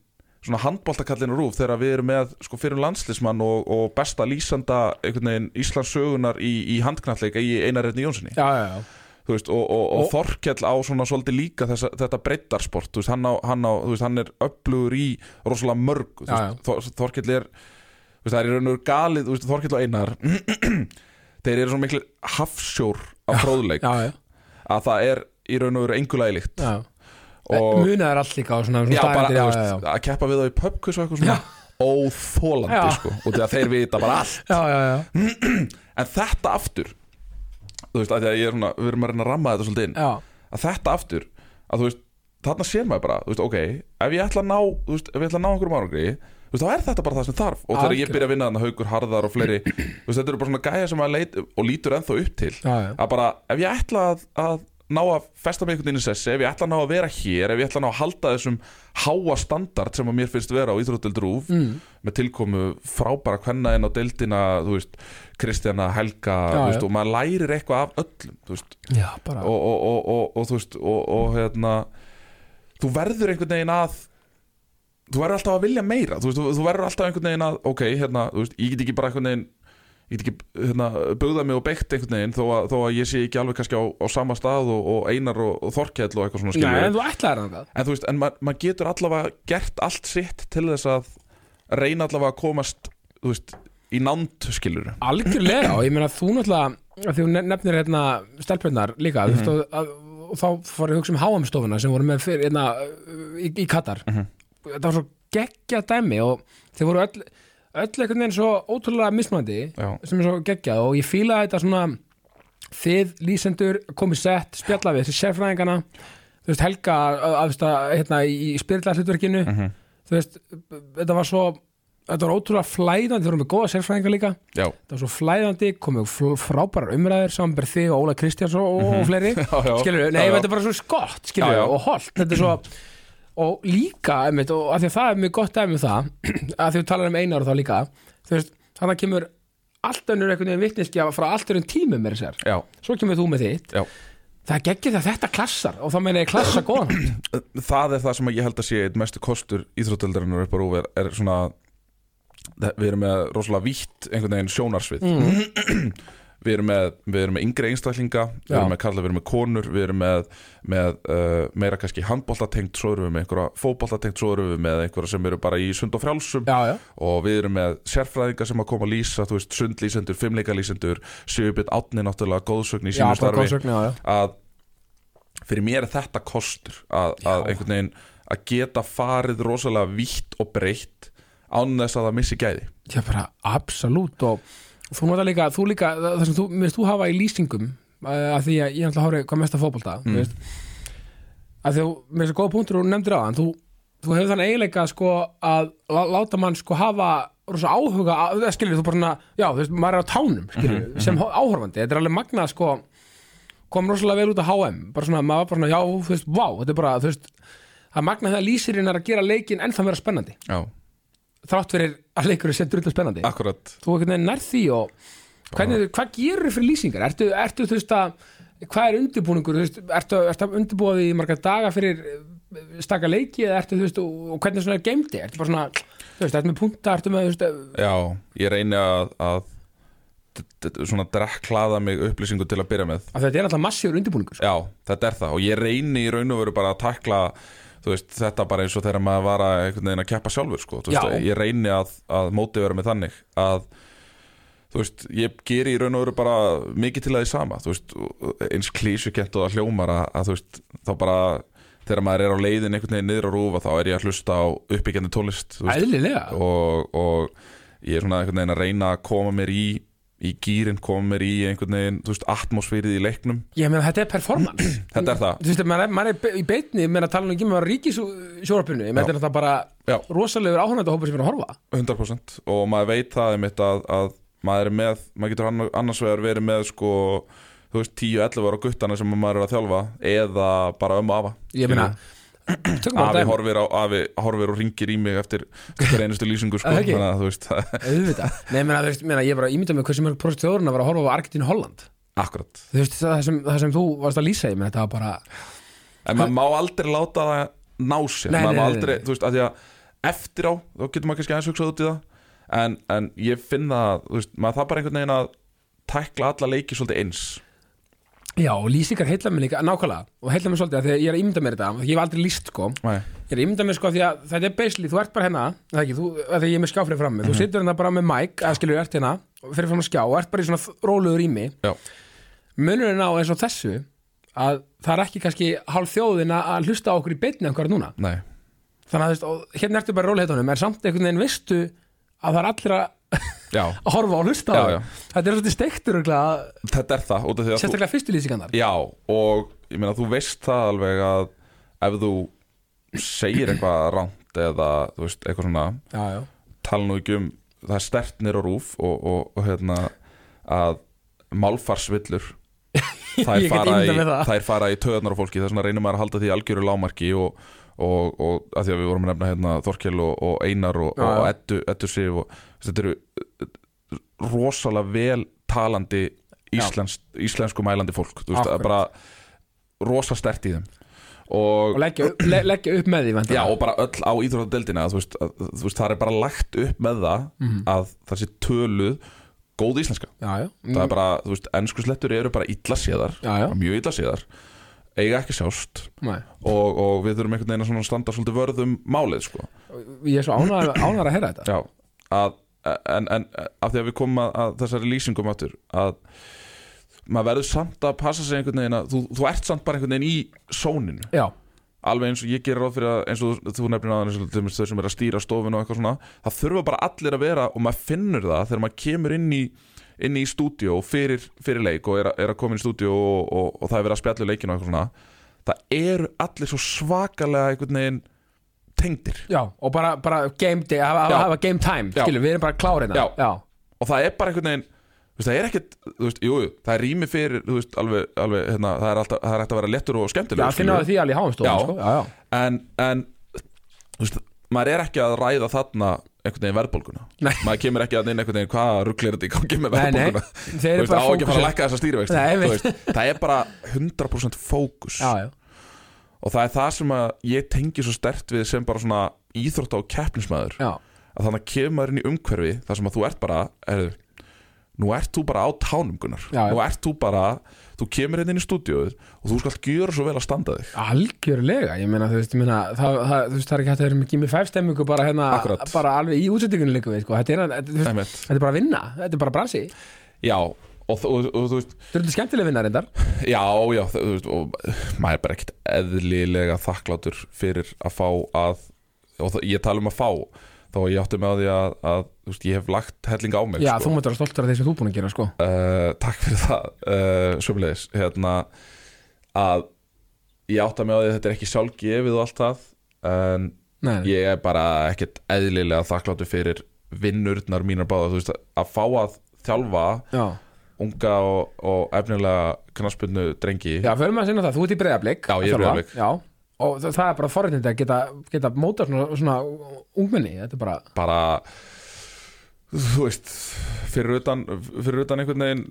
B: svona handbóltakallin rúf þegar við erum með sko fyrir landslismann og, og besta lýsanda einhvern veginn Íslands sögunar í, í handknallega í Einar Redni Jónssoni
A: já, já, já.
B: þú veist, og, og, og,
A: Og-
B: Þorkell á svona svolítið líka þessa, þetta breyttarsport þú veist, hann, á, hann, á, þú veist, hann er upplugur í rosalega mörg þú
A: Já,
B: veist, Þor, Þorkell er þú veist, það er í raun og veru galið, þú veist, Þorkell og Einar þeir eru svona miklu hafsjór af fróðleik
A: já, já,
B: að það er í raun og veru engulagi líkt
A: já.
B: og
A: Munað er allt líka á svona, svona
B: já, bara,
A: staðreyndir,
B: þú
A: já, já,
B: veist, að keppa við þá í pubquiz og eitthvað svona óþólandi
A: Já.
B: sko og því að þeir vita bara allt
A: já, já, já,
B: Mm.
A: já,
B: en þetta aftur þú veist, af því að ég er svona, við erum að reyna að ramma þetta svolítið inn
A: já.
B: að þetta aftur að þú veist, þarna sér maður bara þú veist, ok, ef ég ætla að ná þú veist, ef ég ætla að ná einhverjum árangri þú veist, þá er þetta bara það sem þarf og þegar ég
A: Algjörlega.
B: byrja að vinna þarna haugur harðar og fleiri þú veist, þetta eru bara svona gæja sem maður leit og lítur ennþá upp til
A: Já, já.
B: að bara, ef ég ætla að, að ná að festa mig einhvern veginn í sessi ef ég ætla að ná að vera hér, ef ég ætla að ná að halda þessum háa standard sem að mér finnst vera á Íþróttild Rúf
A: Mm.
B: með tilkomu frábæra kvenna inn á deildina þú veist, Kristjana, Helga
A: Já,
B: þú
A: já.
B: veist, og maður lærir eitthvað af öllum þú veist,
A: já, bara
B: og, og, og, og, og þú veist og, og hérna þú verður einhvern veginn að þú verður alltaf að vilja meira þú, veist, þú, þú verður alltaf einhvern veginn að ok, hérna, þú veist, ég get ekki bara einhvern veginn ég get ekki hérna, bugðað mig og beikt einhvern veginn þó að, þó að ég sé ekki alveg kannski á, á sama stað og, og einar og, og þorkjall og eitthvað svona
A: Nei,
B: skilur
A: en þú ætlaðir hann það
B: en þú veist, en ma- maður getur allavega gert allt sitt til þess að reyna allavega að komast þú veist, í nánd skilur
A: Algjörlega, og ég meina þú náttúrulega af því hún nef- nefnir hérna stelpunnar líka mm -hmm. að, og þá fór ég að hugsa um háamstofuna sem voru með fyrir hérna uh, í, í Katar þetta var svo geggja dæmi og þeir voru öll, öll einhvern veginn svo ótrúlega mismandi
B: Já.
A: sem er svo geggjað og ég fílaði þetta svona þið lýsendur komið sett, spjalla við þessi sérfræðingana þú veist Helga að- að, að, hérna, í spyrla hlutverkinu þú veist, þetta var svo þetta var ótrúlega flæðandi, þeir voru með góða sérfræðinga líka
B: já,
A: það var svo flæðandi, komið fl- frábærar umræðir samanber þig og Óla Kristjáns og, og fleiri
B: Mhm. já.
A: skilur við,
B: Já,
A: nei,
B: já.
A: þetta er bara svo skott skilur
B: Já, já.
A: við, og holt, þetta er svo og líka, einmitt, og að því að það er mjög gott dæmi um það, að því við talar um einar og þá líka, þú veist, þannig kemur allt önnur einhvern veginn vitniskja frá allt önnum tímum er þessar,
B: já,
A: svo kemur þú með þitt
B: já
A: það geggir það þetta klassar og þá meina ég klassa góðan hátt.
B: það er það sem ég held að sé eitt mestu kostur íþrótöldarinnar upp á rúf er, er svona það- við erum með rosalega vítt einhvern veginn sjónarsvið við, erum með, við erum með yngri einstaklinga við
A: Mm. Já.
B: erum með karla, við erum með konur við erum með, með uh, meira kannski handbóltatengt svo erum við með einhverja fótbóltatengt svo erum við með einhverja sem eru bara í sund og frjálsum
A: já, já,
B: og við erum með sérfræðingar sem að koma að lýsa þú veist, sundlýsendur, fimmleikalýsendur Sjöbjörn Átni náttúrulega góðsögn í
A: já,
B: sínu
A: bara
B: starfi
A: góðsögn, já, já
B: að fyrir mér er þetta kostur að, að einhvern veginn að geta farið rosalega vítt og breytt án þess að það missi gæði
A: Já, bara absolutt og þú notar líka, þú líka það sem þú, minnst þú hafa í lýsingum uh, að því að ég ætla að hóra hvað mest að fótbolta mm. veist, að því að mér finnst það góða punktur og þú nefndir á hann þú, þú hefur þann eiginleika sko að lá- láta mann sko hafa rosa áhuga, á- eða skilur þú bara svona já, þú veist, maður er á tánum, skilur mm sem hó- áhorfandi, þetta er alveg magnað sko kom rosalega vel út á HM bara svona, maður var bara svona, já, þú veist, vá þetta er bara, þú veist, það er magnað þegar lýsirinn er að gera leikin ennþá vera spennandi
B: Já,
A: þrátt fyrir að leikur er sem drullu spennandi
B: akkurat
A: þú einhvern veginn nær því og hvernig, hvað gerur fyrir lýsingar? Ertu, ertu þú veist að, hvað er undirbúningur? Þú Veist, ertu, ertu að undirbúa því í marga daga fyrir eh, staka leiki eða ertu þú veist, og, og hvernig svona er geimdi? Ertu bara svona, þú veist, ertu með punta, ertu með, þú veist, eh,
B: Já, ég reyni að, að d- d- svona drekklaða mig upplýsingu til að byrja með
A: að þetta er alltaf massífur undirbúningur. sko.
B: Já, þetta er það og ég reyni í raun og veru bara að takla þú veist, þetta bara eins og þegar maður var að einhvern veginn að keppa sjálfur sko. Þú veist,
A: Já.
B: ég reyni að, að móti vera með þannig að þú veist, ég geri í raun og veru bara mikið til að því sama þú veist, eins klísukent og það hljómar að, að þú veist, þá bara þegar maður er á leiðin einhvern veginn niður á rúfa þá er ég að hlusta á uppbyggjandi tónlist þú veist,
A: Æðlilega.
B: og, og ég er svona einhvern veginn að reyna að koma mér í í gýrin komir í einhvern veginn, þú veist, atmosfærið í leiknum
A: Ég meina, þetta er performance
B: Þetta er það.
A: Þú veist, maður er, maður er be- í beitni, meina tala nú ekki með ríkisjórapinu Ég meina, þetta
B: Já.
A: er náttúrulega bara
B: Já.
A: rosalegur áhörnandi hópur sem er að horfa
B: 100% og maður veit það einmitt að, að maður er með, maður getur anna- annars vegar verið með sko, þú veist, 10-11 ára guttana sem maður er að þjálfa eða bara ömmu afa
A: Ég meina, tökum bara
B: Afi
A: dæmi.
B: horfir, á, afi horfir og ringir í mig eftir, eftir einustu lýsingu sko,
A: Er það ekki?
B: þannig að þú veist, það-
A: auðvitað Nei, meina, þú veist, meina, ég er bara að ímynda mig hversu mörg prosent þjóðurinn að vera að horfa á Argentínu Holland
B: akkurat
A: Þú veist, það sem, það sem þú varst að lýsa, ég meina, þetta var bara
B: en maður má aldrei láta það ná sér
A: Nei,
B: maður
A: nei,
B: má
A: nei,
B: aldrei,
A: nei.
B: þú veist, að því að eftir á þá getur maður kannski aðeins hugsað út í það en, en ég finn það, þú veist, maður það bara einhvern veginn að tækla alla leiki svolítið eins
A: Já, og lýsingar heilla mig líka, nákvæmlega og heilla mig svolítið að því að ég er að ímynda mér þetta ég hef aldrei lýst sko,
B: Nei.
A: ég er að ímynda mér sko af því að þetta er basically, þú ert bara hérna það ekki, þú, að því að ég er með skjáfrið frammi þú situr hérna bara með mic, að skilur, ert hérna fyrir fram að skjá og ert bara í svona þ- róluður ími
B: Já.
A: munurinn á eins og þessu að það er ekki kannski hálf þjóðin að- að hlusta á okkur í beinni einhverja núna
B: Nei.
A: þannig að þú veist, og hérna ertu bara í róluheitunum er samt einhvern veginn veistu að það er allir að
B: Já.
A: að horfa og hlusta á
B: Já,
A: þig.
B: já.
A: þetta er svolítið steiktur örugglega,
B: þetta er það út af því að þú-
A: sérstaklega fyrstu lýsingarnar
B: Já, og ég meina þú veist það alveg að ef þú segir eitthvað rámt eða þú veist, eitthvað svona
A: já, já.
B: tala nú ekki um það er stertnir og rúf og, og, og hérna að málfarsvillur þær
A: Ég get
B: fara, í,
A: ímyndað mér það.
B: þær fara í töðarnar á fólki þess vegna reynir maður að halda því í algjöru lámarki og, og, og að því að við vorum að nefna hérna, Þorkel og, og Einar og,
A: Já,
B: og
A: já.
B: Eddu, Eddu Sif og þetta eru eh, rosalega vel talandi íslens, íslensku mælandi fólk þú veist,
A: Akkurat.
B: það er bara rosa stert í þeim og,
A: og leggja, upp- le, leggja upp með því
B: Já,
A: væntanlega.
B: og bara öll á íþróttadeldina þú veist, að, þú veist, það er bara lagt upp með það að það sé töluð góð íslenska,
A: já, já.
B: það er bara, þú veist, ennskuslettur eru bara illa séðar,
A: já, já.
B: bara mjög illa séðar eiga ekki sjást
A: Nei.
B: og, og við þurfum einhvern veginn að svona standa svolítið vörðum málið, sko
A: ég er svo ánægður ánægður að heyra þetta
B: Já, að, en, en af því að við komum að, að þessari lýsingum áttur að maður verður samt að passa sig einhvern veginn að þú, þú ert samt bara einhvern veginn í sóninu
A: já,
B: alveg eins og ég gerir ráð fyrir að eins og þú- þú nefnir aðeins eins og til dæmis þau sem er að stýra stofinu og eitthvað svona það þurfa bara allir að vera og maður finnur það þegar maður kemur inn í inn í stúdíó fyrir, fyrir leik og er, að- er að koma inn í stúdíó og, og, og það er verið að spjallu leikinu og eitthvað svona það eru allir svo svakalega einhvern veginn tengdir
A: já, og bara, bara game day, hafa, hafa,
B: Já.
A: hafa game time
B: Já.
A: skilur, við erum bara klárina
B: Já.
A: Já.
B: og það er bara einhvern veginn þú veist, það er ekkert, þú veist, jú, jú, það er rými fyrir þú veist, alveg, alveg, hérna, það er alltaf það er hægt að vera lettur og
A: Já,
B: skemmtilegur
A: finna á
B: skilurðu.
A: því alveg í háumstofan
B: Já.
A: sko. já, já.
B: en, en þú veist, maður er ekki að ræða þarna einhvern veginn verðbólguna
A: Nei.
B: maður kemur ekki að neina einhvern veginn hvað rugglir þetta í gangi með
A: Nei, nei.
B: verðbólguna
A: Þeir eru
B: Þú veist,
A: bara
B: á ekki að fara að
A: fókusera-
B: lækka þessa stýrivexti
A: Nei,
B: Þú
A: einmitt.
B: veist, það er bara 100% fókus
A: Já, já.
B: og það er það sem að ég tengi svo stert við sem bara svona íþrótta og keppnismæður
A: Já.
B: að þannig að kemur inn í umhverfi þar sem að þú ert bara er, nú ert þú bara á tánum Gunnar
A: Já, já.
B: nú ert þú bara, þú kemur hérna inn í stúdíóið og þú skalt gjöra svo vel að standa þig
A: algjörlega, ég meina, þú veist, ég meina það, það, þú veist, það er ekki hægt að vera með Gimmi 5 stemmingu bara, hérna,
B: Akkurat.
A: bara alveg í útsendingunni líka við, sko. þetta, er, þetta, þú veist,
B: Einmitt.
A: þetta er bara að vinna, þetta er bara bransi þetta
B: já, og, þú- og, og þú veist
A: er þetta skemmtileg vinna reyndar
B: Já, já, þú veist, og maður er bara ekkert eðlilega þakklátur fyrir að fá að, og það, ég tala um að fá, þá ég átti með á því að, að þú veist, ég hef lagt helling á mig,
A: Já, þú
B: sko.
A: mátt vera stoltur af því sem þú er búin að gera, sko
B: Uh, takk fyrir það, uh, sömulegis, hérna, að ég átti með á því að þetta er ekki sjálfgefið og allt það, en
A: Nei, nei.
B: ég er bara ekkert eðlilega þakklátur fyrir vinnurnar mínar báða, þú veist, að fá að þjálfa
A: Já,
B: unga og, og efnilega knaspunnu drengi.
A: já förum að sinna það, þú ert í breyðablik
B: Já, ég er í Breiðablik.
A: Já, og það, það er bara forréttindi að geta, geta móta svona, svona ungmenni, þetta er bara
B: bara þú veist fyrir utan, fyrir utan einhvern veginn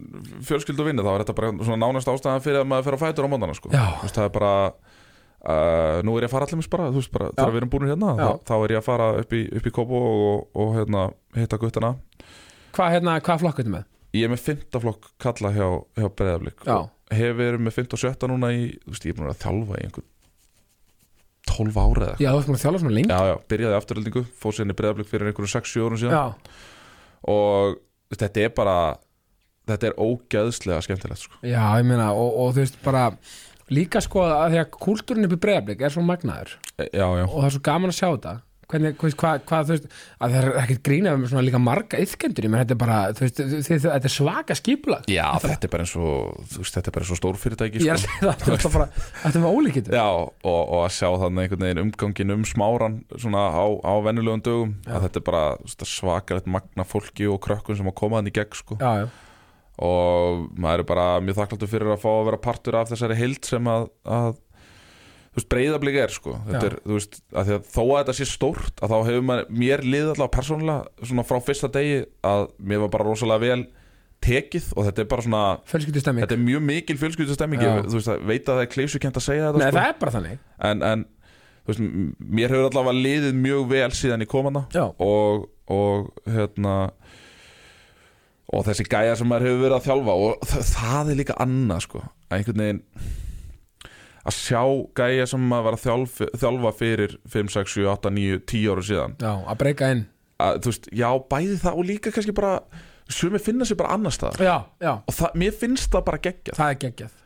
B: fjölskyld og vinnu þá er þetta bara svona nánast ástæðan fyrir að maður fer á fætur á móndana sko.
A: Já.
B: Þú veist, það er bara uh, nú er ég að fara allir mis bara, þú veist, bara þegar við erum búin hérna
A: Já.
B: þá, þá er ég að fara upp í, upp í Kobo og, og, hérna, hitta guttana
A: Hvað hérna, hvað flokk ertu með?
B: ég er með fymtaflokk kalla hjá, hjá Breiðaflik
A: Já.
B: og hef verið með fymt og sjötta núna í, þú veist, ég er búin að vera að þjálfa í einhver 12 ára eða eitthvað.
A: Já, þú ert búin að þjálfa svona lengi
B: Já, já, byrjaði afturöldingu, fór sérni breyðablík fyrir einhverjum 6-7 árum síðan
A: Já,
B: og þetta er bara þetta er ógeðslega skemmtilegt sko.
A: já, ég meina, og, og þú veist bara líka sko að því að kúltúrin upp í breyðablik er svo magnaður
B: já, já,
A: og það er svo gaman að sjá þetta hvernig, hvað, hvað, hvað þú veist að það er ekkert grínað með svona líka marga yfkendur, ég menn þetta er bara, þú veist þið, þið, þetta er svaka skipulag
B: Já, þetta er bara eins og þú veist, þetta er bara eins og stórfyrirtæki
A: ég er að
B: sko.
A: segja það, þetta er bara þetta er bara ólíkitt
B: Já, og, og að sjá þannig einhvern veginn umgangin um smáran svona á, á vennulegum dögum að þetta er bara þú veist, svakalegt magna fólki og krökkun sem að koma hann í gegn sko.
A: já, já,
B: og maður er bara mjög þakklátur fyrir að fá að vera partur af þessari heild sem að, að þú veist, breyðablík er sko þetta
A: Já.
B: er, þú veist, að því að þó að þetta sé stórt að þá hefur maður, mér liðið allavega persónulega svona frá fyrsta degi að mér var bara rosalega vel tekið og þetta er bara svona,
A: fjölskyldu stemming
B: þetta er mjög mikil fjölskyldustemming,
A: Já.
B: Ég- þú veist, að veit að það er kleysukent að segja þetta
A: Nei,
B: sko,
A: það er bara þannig
B: en, en þú veist, m- mér hefur allavega liðið mjög vel síðan ég kom hana
A: Já,
B: og, og hérna og þessi gæja sem maður hefur verið að þjálfa og þa- það er líka annað sko að einhvern veginn að sjá gæja sem maður var að þjálfa, þjálfa fyrir 5, 6, 7, 8, 9, 10 ára síðan
A: já, að breyka inn
B: að þú veist, já bæði það og líka kannski bara sumi finna sér bara annar staðar
A: Já, já,
B: og það, mér finnst það bara geggjað
A: það er geggjað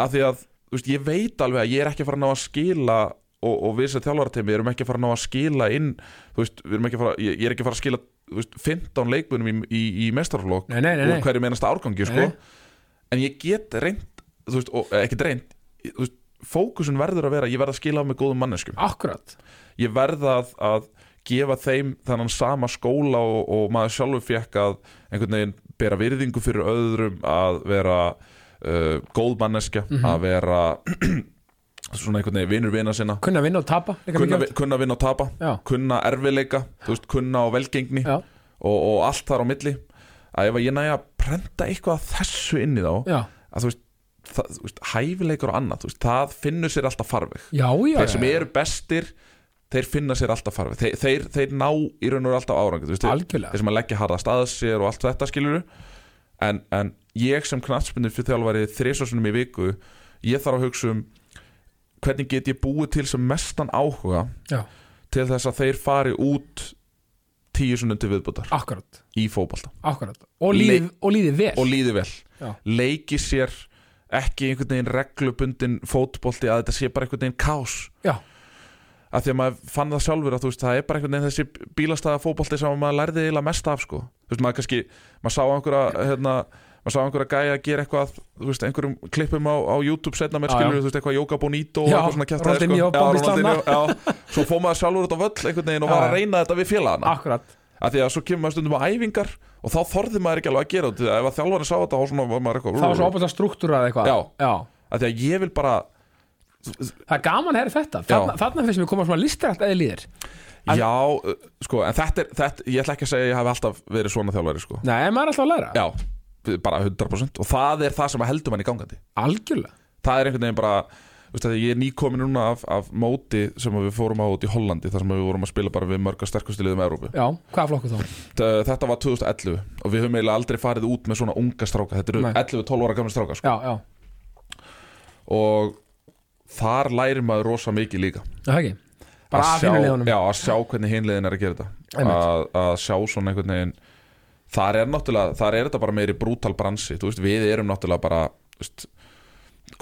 B: af því að þú veist, ég veit alveg að ég er ekki að fara að ná að skila og, og við sem þjálfaratemi erum ekki að fara að ná að skila inn þú veist, við erum ekki að fara, ég, ég er ekki að fara að skila þú veist, 15 leikmunum í, í, í mestarflokk
A: Nei, nei, nei,
B: úr
A: nei.
B: hverju mennasta árgangi sko.
A: Nei.
B: en ég get reynd þú veist, og, eh, ekki reynd ég- þú veist, fókusun verður að vera, ég verð að skila af með góðum manneskum
A: Akkurat,
B: ég verð að, að gefa þeim þannan sama skóla og, og maður sjálfur fekk að einhvern veginn bera virðingu fyrir öðrum að vera uh, góð manneskja,
A: Mhm.
B: að vera svona einhvern veginn vinur vina sinna
A: kunna vinna og tapa líka
B: kunna,
A: mikilvægt.
B: vi- kunna vinna og tapa
A: Já.
B: kunna erfileika, þú veist, kunna á velgengni
A: Já,
B: og, og allt þar á milli að ef að ég næja að prenta eitthvað af þessu inn í þá
A: já,
B: að þú veist, það, þú veist hæfileikur og annað, þú veist, það finnur sér alltaf farveg
A: já, já
B: þeir sem eru bestir þeir finna sér alltaf farfið þeir, þeir, þeir ná í raun og veru alltaf árangur þú veist, þeir,
A: Algjörlega,
B: þeir sem að leggja harðast að sér og allt þetta skilur en, en ég sem knattspinnu fyrir þjálfari þrisvarsunum í viku ég þarf að hugsa um hvernig get ég búið til sem mestan áhuga
A: já,
B: til þess að þeir fari út tíu sunnum til viðbútar
A: akkurat
B: í fótbolta
A: Akkurat, og líði, og líði vel
B: og líði vel,
A: Já.
B: leiki sér ekki einhvern veginn reglubundin fótbolti að þetta sé bara einhvern veginn kás
A: Já,
B: að því að maður fann það sjálfur að þú veist það er bara einhvern veginn þessi bílastæða fótbolti sem maður lærði eiginlega mest af sko þú veist maður kannski, maður sá einhverja hérna, maður sá einhverja gæja að gera eitthvað þú veist einhverjum klippum á, á YouTube setna með
A: Já,
B: skilur
A: já.
B: þú veist eitthvað Jóka Bonito og
A: Já,
B: eitthvað svona kjæftaði
A: Ronaldinho, Bobby
B: já, svo fór maður sjálfur út á völl einhvern veginn
A: Já,
B: og
A: Ah. já.
B: var að reyna þetta við félagana
A: akkurat
B: að því að svo kemur maður stundum á æfingar og þá þorði maður ekki alveg að gera þetta ef að þjálfarni sá þetta þá svona var maður
A: Það var svo
B: eitthvað
A: opast að struktúrað eitthvað
B: Já.
A: já
B: að því að ég vil bara
A: Það er gaman að heyra þetta Þarna,
B: Já.
A: þarna finnst mér koma svona listarætt eða líðir En-
B: já, uh, sko, en þetta er þetta, ég ætla ekki að segja að ég hafi alltaf verið svona þjálfari sko.
A: Nei, en maður er alltaf að læra
B: Já, bara 100% og það er það sem að heldur manni gangandi
A: Algjörlega
B: það er einhvern veginn bara þú veist, að ég er nýkomin núna af, af móti sem að við fórum á út í Hollandi þar sem að við vorum að spila bara við mörga sterkustu liðum Európu
A: Já, hvaða flokku þá?
B: þetta var 2011 og við höfum eiginlega aldrei farið út með svona unga stráka þetta eru
A: Nei.
B: 11-12 ára gamla stráka sko.
A: Já, já,
B: og þar lærir maður rosa mikið líka
A: það ekki Bara
B: Að
A: að
B: sjá-
A: finna liðunum
B: Já, að sjá hvernig hinliðin er að gera þetta
A: Einmitt.
B: að, að sjá svona einhvern veginn þar er náttúrulega, þar er þetta bara meiri brútal bransi, þú veist, við erum náttúrulega bara þú veist,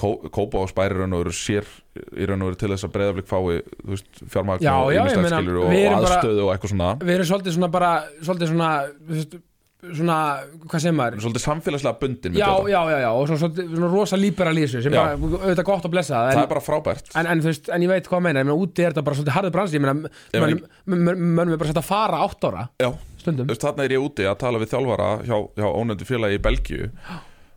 B: kó, kópa á spæri raun og veru sér í raun og veru til þess að breyðaflik fái þú veist, fjármagn
A: Já,
B: og
A: já, ég
B: ýmislegt
A: meina,
B: skilur og,
A: við
B: og
A: erum bara-
B: aðstöðu og eitthvað svona
A: Við erum svolítið svona bara Svolítið svona þú veist, Svona, hvað segir maður?
B: svolítið samfélagslega bundin við
A: Já,
B: þetta.
A: já, já, já Og svo, svona, svona rosa líbera lísu Sem
B: Já.
A: bara, auðvitað gott að blessa
B: það
A: en,
B: er bara frábært
A: en, en, þú veist, en ég veit hvað að meina Ég meina, úti er þetta bara svolítið harður bransi Ég meina,
B: Ég
A: mönnum- mönnum mönnum er bara sett að fara átt ára
B: já,
A: Stundum
B: Þú veist, þarna er ég úti að tala við þjálfara hjá, hjá ónefndu félagi í Belgíu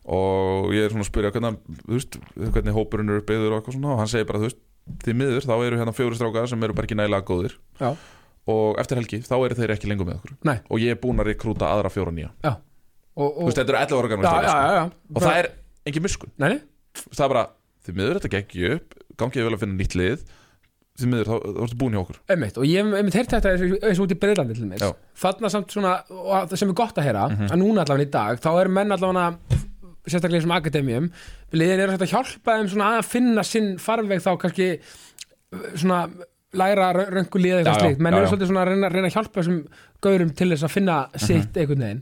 B: og ég er svona að spyrja hvernig, þú veist, hvernig hópurinn eru byggður og eitthvað svona og hann segir bara, þú veist, því miður þá eru hérna fjóri strákar sem eru bara ekki nægilega góðir
A: Já,
B: og eftir helgi þá eru þeir ekki lengur með okkur
A: nei,
B: og ég er búinn að rekrúta aðra fjóra nýja
A: já og,
B: þú
A: og,
B: veist, þetta eru 11 ára gamlega
A: Já, já,
B: strákar sko.
A: já, já
B: og það er engin miskun
A: Nei, nei,
B: Þú veist, það er bara, því miður þetta gekk ekki upp gangið vel að finna nýtt lið því miður þá, þá ertu búin hjá okkur
A: einmitt Og ég hef einmitt heyrt þetta eins og- eins og út í Breitlandi til mér
B: Já. Mhm.
A: Þarna samt svona, og að- sem er gott að heyra að núna allavega í dag, þá er menn allavega sérstaklega í þessum akademíum liðin eru þetta að hjálpa þeim svona að finna sinn farveg þá kannski svona læra röngu liða
B: Já,
A: eitthvað
B: já,
A: slíkt, menn
B: já, Mhm.
A: eru
B: já.
A: svolítið svona að reyna, reyna að hjálpa þessum gaurum til þess að finna sitt einhvern veginn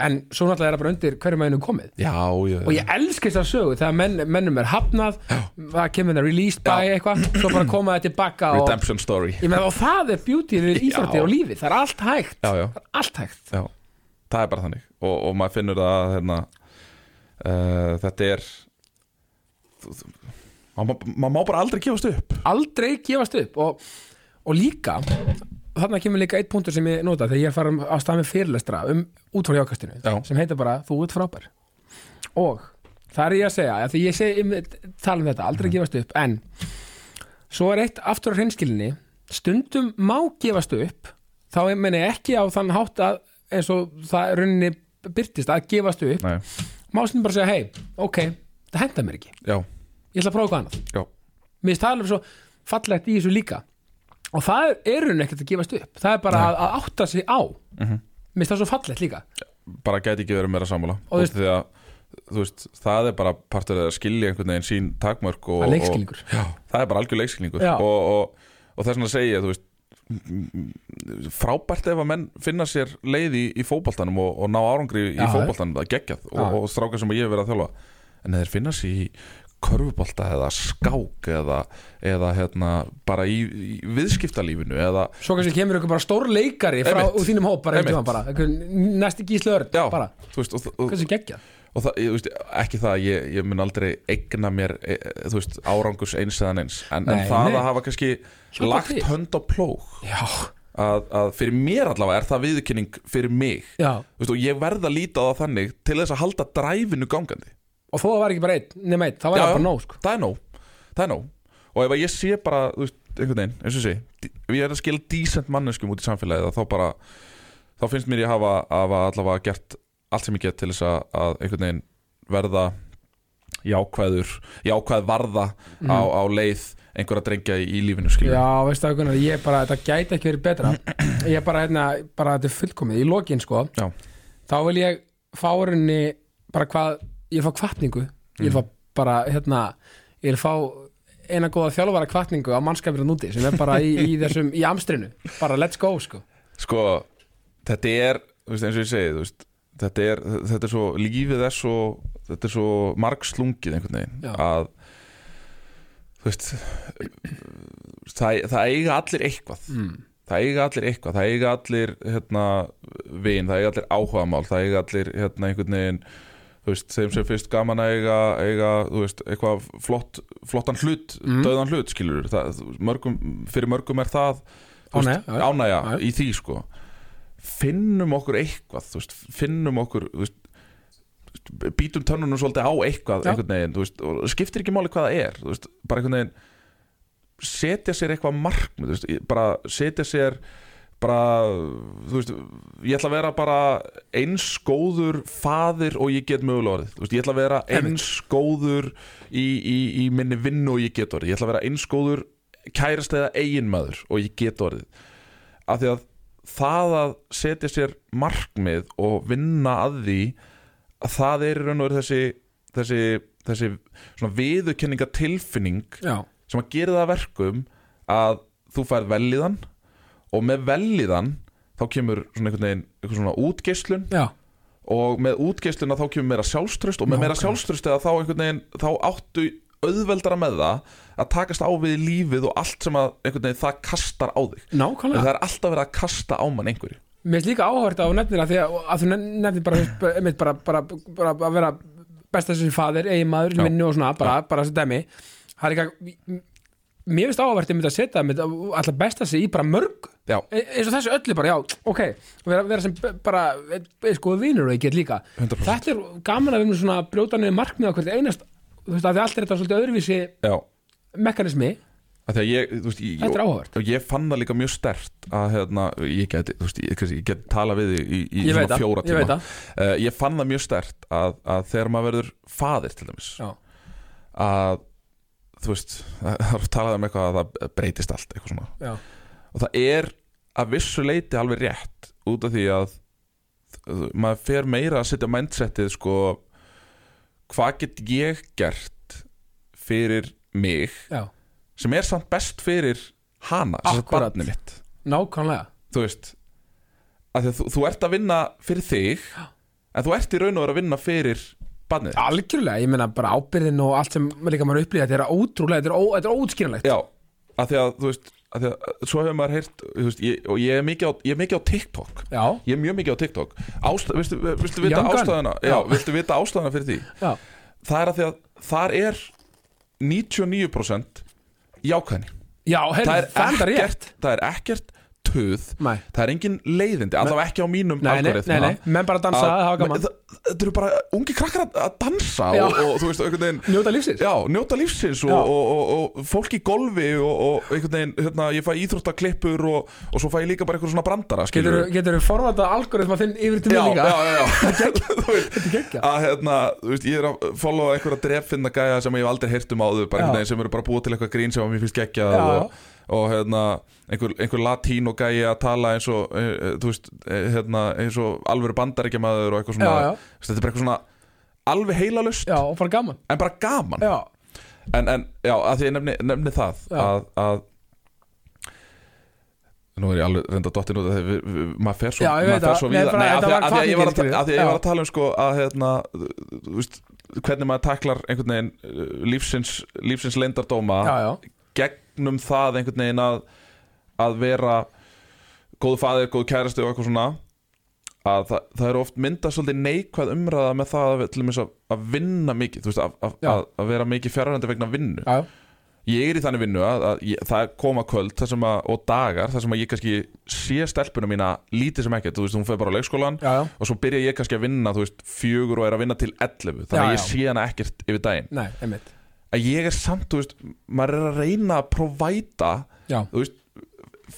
A: en svo náttúrulega er það bara undir hverju mænum komið
B: já, já,
A: og
B: já.
A: ég elski þess að sögu þegar menn, mennum er hafnað það kemur það released by
B: Já.
A: eitthvað svo bara koma það tilbaka og,
B: redemption story
A: Ég meina, og það er beauty við
B: Já.
A: íþrótti og lífi það er allt hægt
B: Já, já.
A: Það er allt hægt
B: já, það er bara þannig og, og maður finnur það að hérna, uh, þetta er þú- þú- maður ma, má bara aldrei gefast upp
A: aldrei gefast upp og, og líka þarna kemur líka eitt punktur sem ég nota þegar ég er farin á stað með fyrirlestra um útfór hjákastinu
B: Já.
A: sem heitir bara þú ert frábær og það er ég að segja því ég segi, einmitt- tala um þetta,
B: Mhm.
A: aldrei gefast upp en svo er eitt aftur á hreinskilinni stundum má gefast upp þá meni ekki á þann hátt að eins og það rauninni byrtist að gefast upp
B: Nei,
A: má stundum bara segja hei, ok, það henda mér ekki
B: já,
A: ég ætla að prófa eitthvað annað
B: já,
A: mér finnst það alveg svo fallegt í þessu líka og það er- er hún ekkert að gefast upp það er bara að, að átta sig á mér
B: Mhm.
A: finnst það svo fallegt líka
B: bara gæti ekki verið meira sammála
A: Og þú
B: og
A: veist-
B: því að þú veist, það er bara partur að skilja einhvern veginn sín takmörk og,
A: Það er leikskilningur.
B: og, já, það er bara algjör leikskilningur
A: Já.
B: og, og, og þess vegna segi ég, þú veist m- m- frábært ef að menn finna sér leið í, í fótboltanum og, og ná árangri í
A: Já,
B: fótboltanum, það er geggjað og,
A: Já.
B: og strákar sem ég hef verið að þjálfa en þeir finna sér í körfubolta eða skák eða, eða hérna, bara í, í viðskiptalífinu eða
A: svo kannski kemur ykkur bara stór leikari frá
B: Einmitt.
A: úr þínum hóp bara,
B: Einmitt.
A: einhvern tímann bara einhvern- næsti gíslörn
B: já,
A: bara
B: þú veist, og, og,
A: hversu geggjað
B: og það, ég, þú veist, ekki það að ég, ég mun aldrei eigna mér e, e, þú veist, árangurs eins eðan eins en,
A: Nei,
B: en það
A: nei.
B: að hafa kannski
A: Hjálpar
B: lagt
A: til.
B: hönd á plóg
A: já,
B: að, að fyrir mér allavega er það viðkynning fyrir mig
A: já.
B: Þú veist, og ég verð að líta á það þannig til þess að halda dræfinu gangandi
A: og þó að það var ekki bara einn nema einn, það var
B: Já,
A: já, bara
B: já.
A: nóg sko.
B: það er nóg, það er nóg og ef að ég sé bara, þú veist, einhvern veginn eins og sé, d- ef ég er að skila decent manneskum út í samfélagið að þá bara þá finnst mér ég hafa, hafa allavega gert allt sem ég get til þess að, að einhvern veginn verða jákvæður, jákvæð varða á, á leið einhverja drengja í, í lífinu skilur
A: já, veistu það Gunnar, ég bara, þetta gæti ekki verið betra ég bara, hérna, bara þetta er fullkomið í lokin sko,
B: já,
A: þá vil ég fá henni bara hvað, ég vil fá kvartningu ég
B: Mhm.
A: vil fá bara, hérna ég vil fá eina góða þjálfara kvartningu á mannskapirinn úti sem er bara í, í þessum, í amstrinu, bara let's go sko.
B: sko þetta er, þú veist, eins og ég segi þú veist, þetta er, þetta er svo lífið er svo, þetta er svo margslungið einhvern veginn
A: Já.
B: að þú veist það, það eiga allir eitthvað
A: mm.
B: það eiga allir eitthvað, það eiga allir hérna, vin, það eiga allir áhugamál það eiga allir hérna, einhvern veginn þú veist, þeim sem fyrst gaman að eiga, eiga þú veist, eitthvað flott, flottan hlut
A: Mm.
B: döðan hlut, skilur það, mörgum, fyrir mörgum er það
A: Ánægja,
B: þú veist,
A: já, já.
B: ánægja
A: Já, já.
B: í því sko finnum okkur eitthvað þú veist, finnum okkur þú veist, býtum tönnunum svolítið á eitthvað
A: Já.
B: einhvern veginn, þú veist, og skiptir ekki máli hvað það er þú veist, bara einhvern veginn setja sér eitthvað markmið þú veist, í- bara setja sér bara, þú veist, ég ætla að vera bara eins góður faðir og ég get mögulega orðið, þú veist, ég ætla að vera
A: Einmitt.
B: eins góður í, í, í minni vinnu og ég get orðið, ég ætla að vera eins góður kærast eða eiginmaður og ég get orðið, af því að það að setja sér markmið og vinna að því að það er í raun og veru þessi þessi, þessi svona viðurkenningatilfinning
A: já,
B: sem að gera það að verkum að þú færð velliðan og með velliðan þá kemur svona einhvern veginn einhvern svona útgeislun
A: já,
B: og með útgeisluna þá kemur meira sjálfströst og með meira
A: Nákvæmlega.
B: sjálfströst eða þá einhvern veginn þá áttu auðveldara með það að takast á við lífið og allt sem að einhvern veginn það kastar á þig en
A: nákvæmlega
B: það er alltaf verið að kasta á mann einhverju
A: mér finnst líka áhört á nefnir að því að, að þú nefnir bara, þú veist, einmitt bara, bara, bara að vera besta sem faðir, eigin maður,
B: Já.
A: vinnu og svona bara, bara þessi dæmi það er ekki að mér finnst áhört einmitt að setja einmitt alltaf besta sig í bara mörg
B: Já,
A: E- eins og þessu öllu bara, já, ok vera, vera sem b- bara, e, e, sko, vinur og ég get líka
B: 100%.
A: þetta er gaman að við erum svona að brjóta niður markmið á hvert einast, þú veist, að því allt er þetta svolítið öðruvísi
B: já
A: mekanismi
B: Af því að ég, þú veist, ég,
A: Þetta er áhugavert.
B: og ég fann það líka mjög stert að hérna, ég geti, þú veist, ég, kannski- ég geti tala við þig í, í
A: Ég veit
B: svona
A: það,
B: fjóra
A: ég
B: tíma
A: veit það.
B: Eh, ég fann það mjög stert að, að þegar maður verður faðir til dæmis
A: já,
B: að þú veist, það er talað um eitthvað að það breytist allt eitthvað svona
A: já,
B: og það er að vissu leiti alveg rétt út af því að þú- maður fer meira að setja mindsetið sko hvað get ég gert fyrir mig
A: já,
B: sem er samt best fyrir hana, sem er
A: Akkúrat.
B: barnið mitt
A: nákvæmlega
B: þú veist að að þú, þú ert að vinna fyrir þig en þú ert í raun og verið að vinna fyrir barnið
A: Algjörlega, ég meina bara ábyrðin og allt sem líka maður upplýði, þetta er ótrúlega, þetta er, ó, þetta er ótskýranlegt.
B: Já, af því að þú veist af því að, Svo hefur maður heyrt þú veist, ég, Og ég er, mikið á, ég er mikið á TikTok
A: Já,
B: Ég er mjög mikið á TikTok Ást, viltu, viltu, vita
A: Young Gun?
B: ástæðuna, já,
A: Já.
B: viltu vita ástæðuna fyrir því
A: já,
B: Það er af því að þar er 99% jákvæðni
A: já, heyrðu, það er rétt.
B: ekkert, það er ekkert töð
A: Nei.
B: Það er engin leiðindi, allavega ekki á mínum
A: Nei, nei, nei,
B: algoritma.
A: nei, menn bara dansa,
B: Að-
A: hafa gaman,
B: Þa- Þetta eru bara ungi krakkar að- að dansa
A: Já.
B: og, og þú veist, einhvern veginn
A: njóta lífsins.
B: Já, njóta lífsins og,
A: Já.
B: og, og, og fólk í golfi og, og einhvern veginn, hérna, ég fæ íþróttaklippur og, og svo fæ ég líka bara einhver svona brandara
A: Getur,
B: skilurðu.
A: getur við forvatað algoritma þinn yfir til
B: já,
A: mig líka?
B: já, já, já. Þú veist,
A: geggjað.
B: að hérna, þú veist, ég er að followa einhverja dreffinna gæja sem ég hef aldrei heyrt um áður bara
A: Já.
B: einhvern veginn sem eru bara búið til eitthvað grín sem að mér finnst geggja
A: Já.
B: og, og hérna, einhver, einhver latín og gæja að tala eins og, e, e, þú veist, e, hérna, eins og alvöru bandaríkjamaður og eitthvað svona,
A: Já, já.
B: Þú Veist, þetta er bara eitthvað svona alveg heilalust
A: Já, og bara gaman.
B: en bara gaman
A: Já,
B: en, en já, að því ég nefni, nefni það
A: Já.
B: að, að Nú er ég alveg reynda dottin út af því við- við- maður fer svo
A: Já, ég veit
B: maður fer
A: það.
B: svo
A: Nei,
B: víða-
A: bara
B: Nei, af
A: þetta var
B: því að- af því að ég var að
A: hvatningin,
B: ta- af því að ég var
A: skilur.
B: að tala um sko að hérna, þú- þú veist, hvernig maður taklar einhvern veginn uh, lífsins, lífsins leyndardóma
A: já, já,
B: gegnum það einhvern veginn að, að vera góðu faðir, góðu kæristi og eitthvað svona að það, það eru oft mynda svolítið neikvæð umræða með það að, við- til dæmis að, að vinna mikið þú veist, að, að,
A: Já.
B: að, að vera mikið fjarrandi vegna vinnu
A: já,
B: ég er í þannig vinnu að, að ég, það koma kvöld það sem að, og dagar þar sem að ég kannski sé stelpuna mína lítið sem ekkert þú veist, hún fer bara á leikskólan
A: já, já,
B: og svo byrja ég kannski að vinna, þú veist, fjögur og er að vinna til 11, þannig
A: Já,
B: að
A: já.
B: ég sé hana ekkert yfir daginn
A: nei, einmitt.
B: að ég er samt, þú veist, maður er að reyna að provæta,
A: Já,
B: þú veist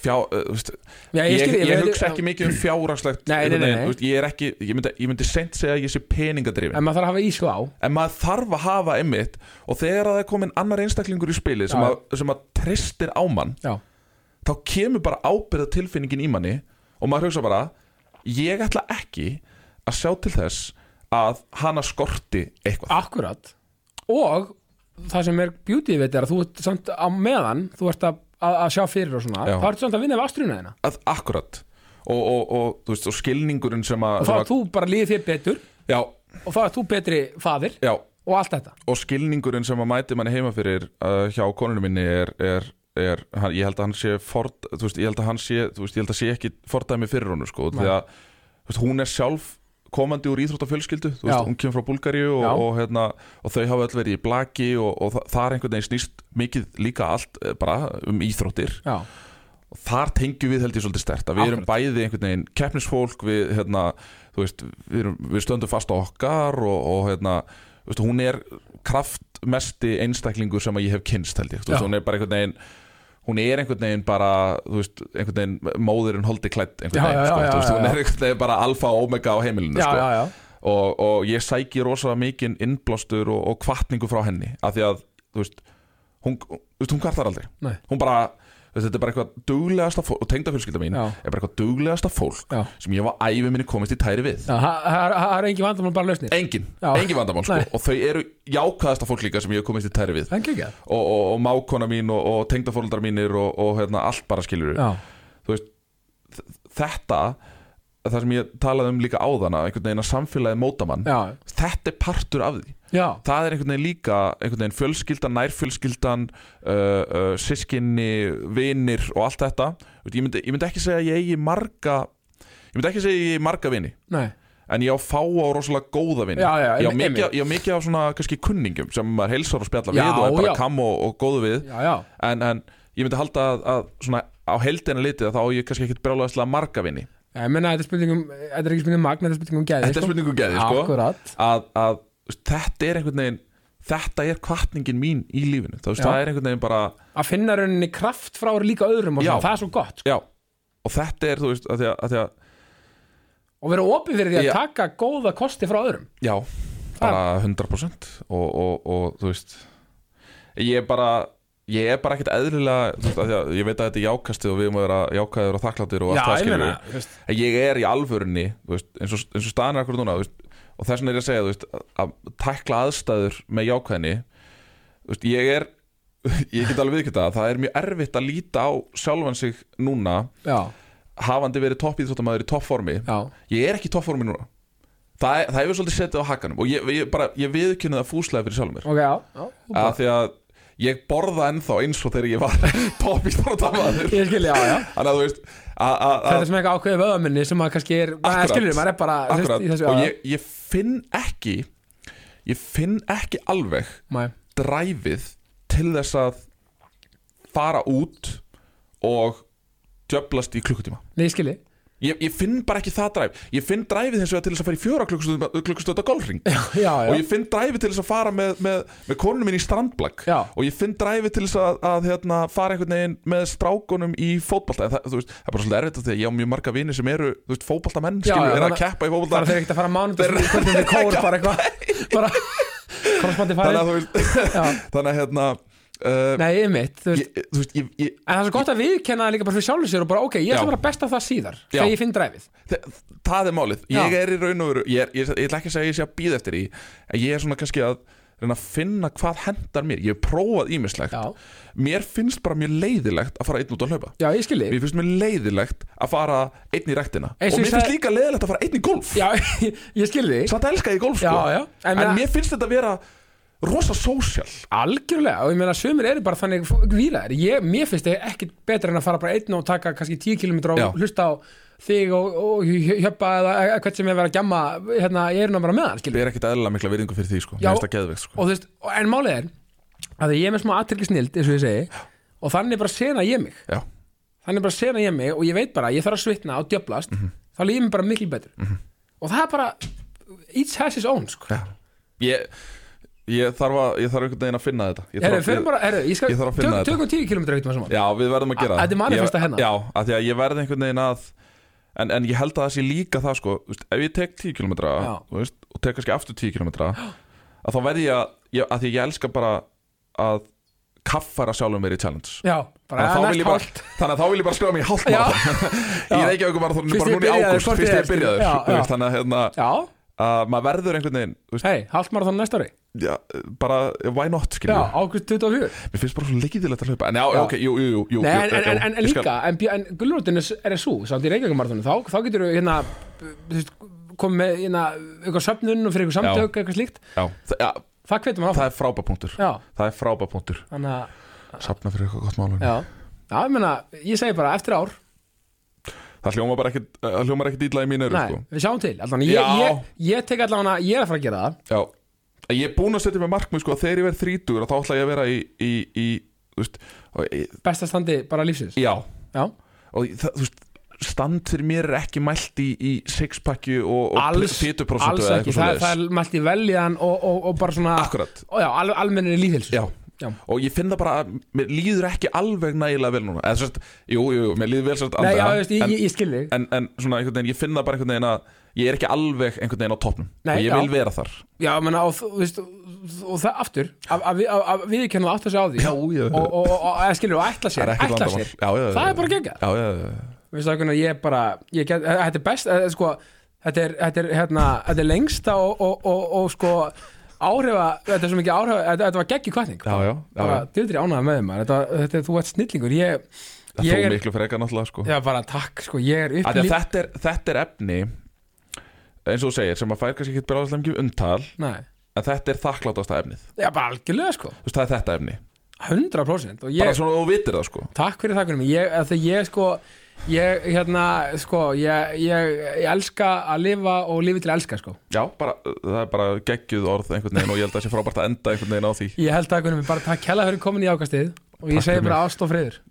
B: fjá, uh, þú veist,
A: já
B: ég, ég,
A: skil-
B: hugsa ekki mikið um fjáragslegt
A: Nei, nei, nei, nei.
B: þú veist, ég er ekki, ég myndi, ég myndi seint segja að ég sé peningadrifin,
A: En maður þarf að hafa ísku á.
B: en maður þarf að hafa einmitt og þegar að það er komin annar einstaklingur í spilið sem,
A: Já.
B: að, sem að tristir á mann
A: Já,
B: þá kemur bara ábyrða tilfinningin í manni og maður hugsa bara ég ætla ekki að sjá til þess að hana skorti eitthvað
A: akkurat. Og það sem er beauty við þetta er að þú ert samt á meðan, þú ert að, að, að sjá fyrir og svona,
B: Já.
A: þá ert samt að vinna við astruna þeina.
B: að, akkurat og, og, og, þú veist, og skilningurinn sem að,
A: Og þá
B: sem
A: er þú bara líðið þér betur
B: að já,
A: og þá er þú betri faðir
B: já,
A: og allt þetta.
B: og skilningurinn sem að mæti manni heima fyrir uh, hjá konunum minni er, er, er hann, ég held að hann sé ford, þú veist, ég held að hann sé, þú veist, ég held að sé ekki fordæmi fyrir honum sko, því að þú veist, hún er sjálf komandi úr íþróttafjölskyldu þú
A: Já.
B: veist, hún kemur frá Búlgaríu og,
A: Já.
B: og, hérna, og þau hafa öll verið í blaki og, og þa þar einhvern veginn snýst mikið líka allt eh, bara um íþróttir
A: Já,
B: og þar tengjum við held ég svolítið stert að við erum bæði einhvern veginn keppnisfólk við, hérna, þú veist, við, erum, við stöndum fast á okkar og, og hérna, þú veist, hún er kraftmesti einstaklingur sem að ég hef kynst held ég, þú veist,
A: Já.
B: hún er bara einhvern veginn hún er einhvern veginn bara þú veist, einhvern veginn móðurinn holdi klætt einhvern
A: Já,
B: veginn,
A: já,
B: sko,
A: já,
B: þú veist,
A: já,
B: hún
A: já.
B: er einhvern veginn bara alfa og omega á heimilinu
A: já,
B: sko
A: já, já.
B: og, og ég sæki rosa mikinn innblástur og, og kvartningu frá henni af því að, þú veist hún, þú veist, hún kvartar aldrei
A: Nei.
B: hún bara, þú veist, þetta er bara eitthvað duglegasta fólk og tengdafjölskylda mín
A: Já.
B: er bara eitthvað duglegasta fólk
A: Já.
B: sem ég var ævi minni komist í tæri við
A: Já, það- Það það- það er engin vandamál bara lausnir.
B: engin,
A: Já.
B: engin vandamál sko.
A: Nei.
B: og þau eru jákaðasta fólk líka sem ég hef komist í tæri við og,
A: En geggjað.
B: og, og mákona mín og, og tengdafóreldrar mínir og, og hérna, allt bara skilur
A: Já,
B: þú veist þ- þetta, það sem ég talaði um líka áðana, einhvern veginn að samfélagið mótamann,
A: já,
B: þetta er partur af því
A: já,
B: það er einhvern veginn líka einhvern veginn fjölskyldan, nærfjölskyldan uh, uh, sískinni, vinir og allt þetta Þú veist, ég myndi, ég myndi ekki segja að ég eigi marga ég myndi ekki segja að ég eigi marga vini
A: nei,
B: en ég á fá á rosalega góða vini
A: Já, já,
B: ég, á
A: einmitt,
B: mikið,
A: einmitt.
B: ég á mikið á svona kannski kunningum sem maður heilsar og spjalla
A: Já,
B: við og er bara
A: já.
B: kam og, og góðu við
A: já, já.
B: en, en ég myndi halda að, að svona á heldina litið að þá á ég kannski ekkit brjálega marga vini
A: Já, Ég menna, þetta er spurningum, þetta er ekki spurningum magn, þetta er spurningum gæði.
B: þetta er spurningu geði sko
A: Akkurat.
B: að, að þú veist, þetta er einhvern veginn þetta er kvartningin mín í lífinu Þú veist,
A: Já.
B: það er einhvern veginn bara
A: Að finna rauninni kraft frá líka öðrum og
B: Já.
A: svona, það er svo gott. sko.
B: já, og þetta er þú veist að því að, að, því að
A: Og vera opið fyrir því að
B: Já.
A: taka góða kosti frá öðrum.
B: já, bara
A: Ah.
B: 100% og, og, og þú veist ég er bara ég er bara ekkert eðlilega þú veist, að því að ég veit að þetta er jákastið og við erum að vera jákaðir og þakkláttir og
A: Já,
B: allt það
A: ég
B: skilur
A: meina,
B: við.
A: þú veist,
B: En ég er í alvörunni þú veist, eins, og, eins og staðan er akkur núna þú veist, og þess vegna er ég að segja þú veist, að, að tækla aðstæður með jákvæðni þú veist, ég er ég get alveg viðkjöta það það er mjög erfitt að líta á sjálfan sig núna
A: já,
B: hafandi verið topp í þóttamæður í toppformi
A: já,
B: ég er ekki í toppformi núna það, það hefur svolítið setið á hakanum og ég, ég, bara, ég viðkynna það fúslega fyrir sjálfur mér
A: ok, já, já
B: að því að ég borða ennþá eins og þegar ég var toppíþróttamaður
A: ég skil, já, já
B: þannig að þú veist að- að-
A: þetta
B: að-
A: er sem eitthvað ákveðið vöðaminni sem að kannski er
B: Akkúrat.
A: að skilur, maður er bara þú veist,
B: akkurat,
A: í þessu, já,
B: og ég, ég finn ekki ég finn ekki alveg
A: Mæ.
B: dræfið til þess að fara út og djöblast í klukkutíma
A: nei, ég skilji
B: ég, ég finn bara ekki það dræf ég finn dræfið hins vegar til þess að fara í fjóra klukkustunda, klukkustunda golfring
A: já, já,
B: og ég finn dræfið til þess að fara með, með, með konunum minn í strandblag
A: Já.
B: og ég finn dræfið til þess að, að hérna, fara einhvern veginn með strákunum í fótbalta en það, þú veist, það er bara svolítið erfitt af því að ég á mjög marga vini sem eru þú veist, fótbaltamenn,
A: Já,
B: skilur,
A: já,
B: eru
A: þannig-
B: að keppa í
A: bara
B: fótbalta
A: þeir ekkert að fara mánudag hvernig við kór bara eitthvað bara korrespondi
B: þannig
A: farið
B: að þú veist,
A: Já.
B: þannig að hérna uh,
A: nei, ymmit, þú veist
B: ég, þú veist, ég, ég,
A: En það er svo gott að viðkenna það líka bara fyrir sjálfur sér og bara ok, ég ætla
B: Já.
A: bara að besta það síðar
B: Já.
A: þegar ég finn dræfið.
B: þa- það er málið, ég
A: Já.
B: er í raun og veru ég, er, ég, ég ætla ekki að segja að ég sé að býða eftir því en ég er svona kannski að reyna að finna hvað hendar mér, ég hef prófað ímislegt
A: Já,
B: mér finnst bara mjög leiðilegt að fara einn út að hlaupa
A: já ég skilji.
B: Mér finnst mér leiðilegt að fara einn í rektina
A: Eins og ég
B: Og mér finnst
A: sagði-
B: líka leiðilegt að fara einn í golf
A: Já, ég skilji.
B: Samt elska ég golf
A: Já,
B: sko
A: já.
B: En,
A: En, en
B: mér finnst þetta að vera rosa sósjál
A: algjörlega, og ég meina sumir eru bara þannig výraðir. Ég, mér finnst það ekki betra en að fara bara einn og taka kannski 10 km og
B: Já.
A: hlusta á þig og, og hjöpa eða eða hvert sem er verið að gjamma hérna, ég er nú bara með hann,
B: Við
A: skilji.
B: erum ekkit eðlilega mikla virðingu fyrir því
A: Já.
B: sko Mér finnst það geðvegt sko
A: Og þú veist, og- en málið er að ég er með smá aðtryggisnild, eins og ég segi, og þannig bara sena ég mig.
B: Já,
A: þannig bara sena ég mig og ég veit bara að ég þarf að svitna og djöblast
B: Mhm.
A: þá líður mér bara miklu betur og það er bara each has his own sko.
B: já Ég, ég þarf að, ég þarf einhvern veginn að finna þetta Ég þarf
A: Herru,
B: að-
A: fyrir bara, herru, ég skal
B: ég þarf að finna
A: tök-
B: þetta.
A: tökum 10 km eitthvað saman
B: Já, við verðum að gera
A: A- þetta er hérna. manifest
B: Ég-
A: að hennar.
B: Já, af því að ég verð einhvern veginn að En, en ég held að það sé líka það sko þú veist, Ef ég tek 10 km
A: Já.
B: þú veist, Og tek kannski aftur 10 km Að þá verð ég að ég, Að því að ég elska bara að Kaffara sjálfum mér í challenge
A: já bara
B: Þannig að, þá vil
A: næst
B: ég bara,
A: hálft
B: þannig að þá vil ég bara skráða mig í hálft
A: Já.
B: Í
A: Já.
B: Reykjavík var það
A: Fyrst
B: bara
A: ég
B: núna í
A: byrjaði,
B: ágúst
A: hvort
B: Fyrst
A: ég
B: ég
A: elski.
B: byrjaði
A: Já,
B: þú veist,
A: já.
B: Þannig að hérna,
A: já,
B: að maður verður einhvern veginn þú veist,
A: hei, halvt marathon næsta ári
B: já, Bara, why not
A: já,
B: skiljum við
A: águst 24
B: Mér finnst bara svo leiðilegt að hlaupa En já,
A: Já.
B: ok, jú, jú, jú, jú
A: Nei,
B: jú,
A: en, en,
B: já,
A: en, en
B: ég skal-
A: líka, en, bj- en gulrótin er er svo, samt í Reykjavíkumarðunum þá, þá getur við hérna þú veist, komið með hérna, eitthvað söfnun og fyrir eitthvað
B: Já.
A: samtök, eitthvað slíkt
B: Já, það, já,
A: það hvetur maður
B: það
A: áfram
B: er frábapunktur
A: já,
B: Það er frábapunktur
A: þannig að
B: Safna fyrir eitthvað gott málun
A: Já, já ég meina, ég segi bara eftir ár
B: Það hljómar bara ekkit, uh, hljómar ekkit ítla í mínu eru
A: Nei,
B: sko.
A: við sjáum til allan, ég,
B: Já.
A: ég, ég tek allan að ég er að fara að gera það
B: Já En Ég er búinn að setja með markmið sko að þegar ég verð þrítugur að þá ætla ég að vera í, í, í þú veist, og, í,
A: Besta standi bara lífsins
B: Já
A: Já,
B: Og það, þú veist Stand fyrir mér er ekki mælt í, í sixpacki og, og
A: alls,
B: fituprosentu
A: alls
B: eða
A: ekki
B: eitthvað
A: það,
B: svoleiðis.
A: það er mælt í veljan og, og, og bara svona
B: Akkúrat.
A: og já, al, Almennir í lífhilsu
B: Já.
A: já.
B: Og ég finn það bara að mér líður ekki alveg nægilega vel núna Eða sérst, jú, jú, jú, mér líður vel sérst
A: Nei, já,
B: andlega,
A: þú veist, ég,
B: en-
A: ég, ég skil þig
B: en, en svona einhvern veginn, ég finna bara einhvern veginn að ég er ekki alveg einhvern veginn á toppnum
A: Nei,
B: og ég
A: já.
B: vil vera þar
A: Já, ég meina, og, þú- þú veist, og það aftur að- að við- að- að við kennum aftur sig á því
B: Já, já.
A: og, og, og, og eða skilur, og ætla
B: það
A: sér,
B: er ekkert
A: ætla
B: vandamál
A: sér
B: já, já, já,
A: Það er bara geggjað
B: já, já, já, já.
A: Veistu það hvernig ég bara ég get, Þetta er best, eh, sko Þetta er, þetta er, hérna, þetta er lengsta og, og, og, og sko áhrifa, þetta er svo mikið áhrifa þetta, þetta var geggi kvartning
B: Já, já, já,
A: bara
B: já.
A: dildri ánæða með þeim þetta, þetta, þú ert snillingur ég,
B: Það
A: ég
B: er
A: er,
B: miklu frekar náttúrulega sko.
A: já bara takk sko, ég er
B: Af því
A: upplýtt
B: að þetta, er, þetta er efni eins og þú segir, sem að fær kannski ekki bráðislega mikið umtal
A: Nei,
B: en þetta er þakklátasta efnið þú
A: já bara algjörlega sko
B: veist, það er þetta efni,
A: 100% og ég,
B: bara svona þú vitir það sko
A: takk fyrir það hvernig ég, að því ég sko ég, hérna, sko ég, ég, ég elska að lifa og lifi til að elska sko
B: já, bara, það er bara geggjuð orð einhvern veginn og ég held að það sé frábært að enda einhvern veginn á því
A: ég held að hvernig bara takk hella fyrir komin í ákastið og ég
B: Takk
A: segi
B: fyrir
A: bara ást og friður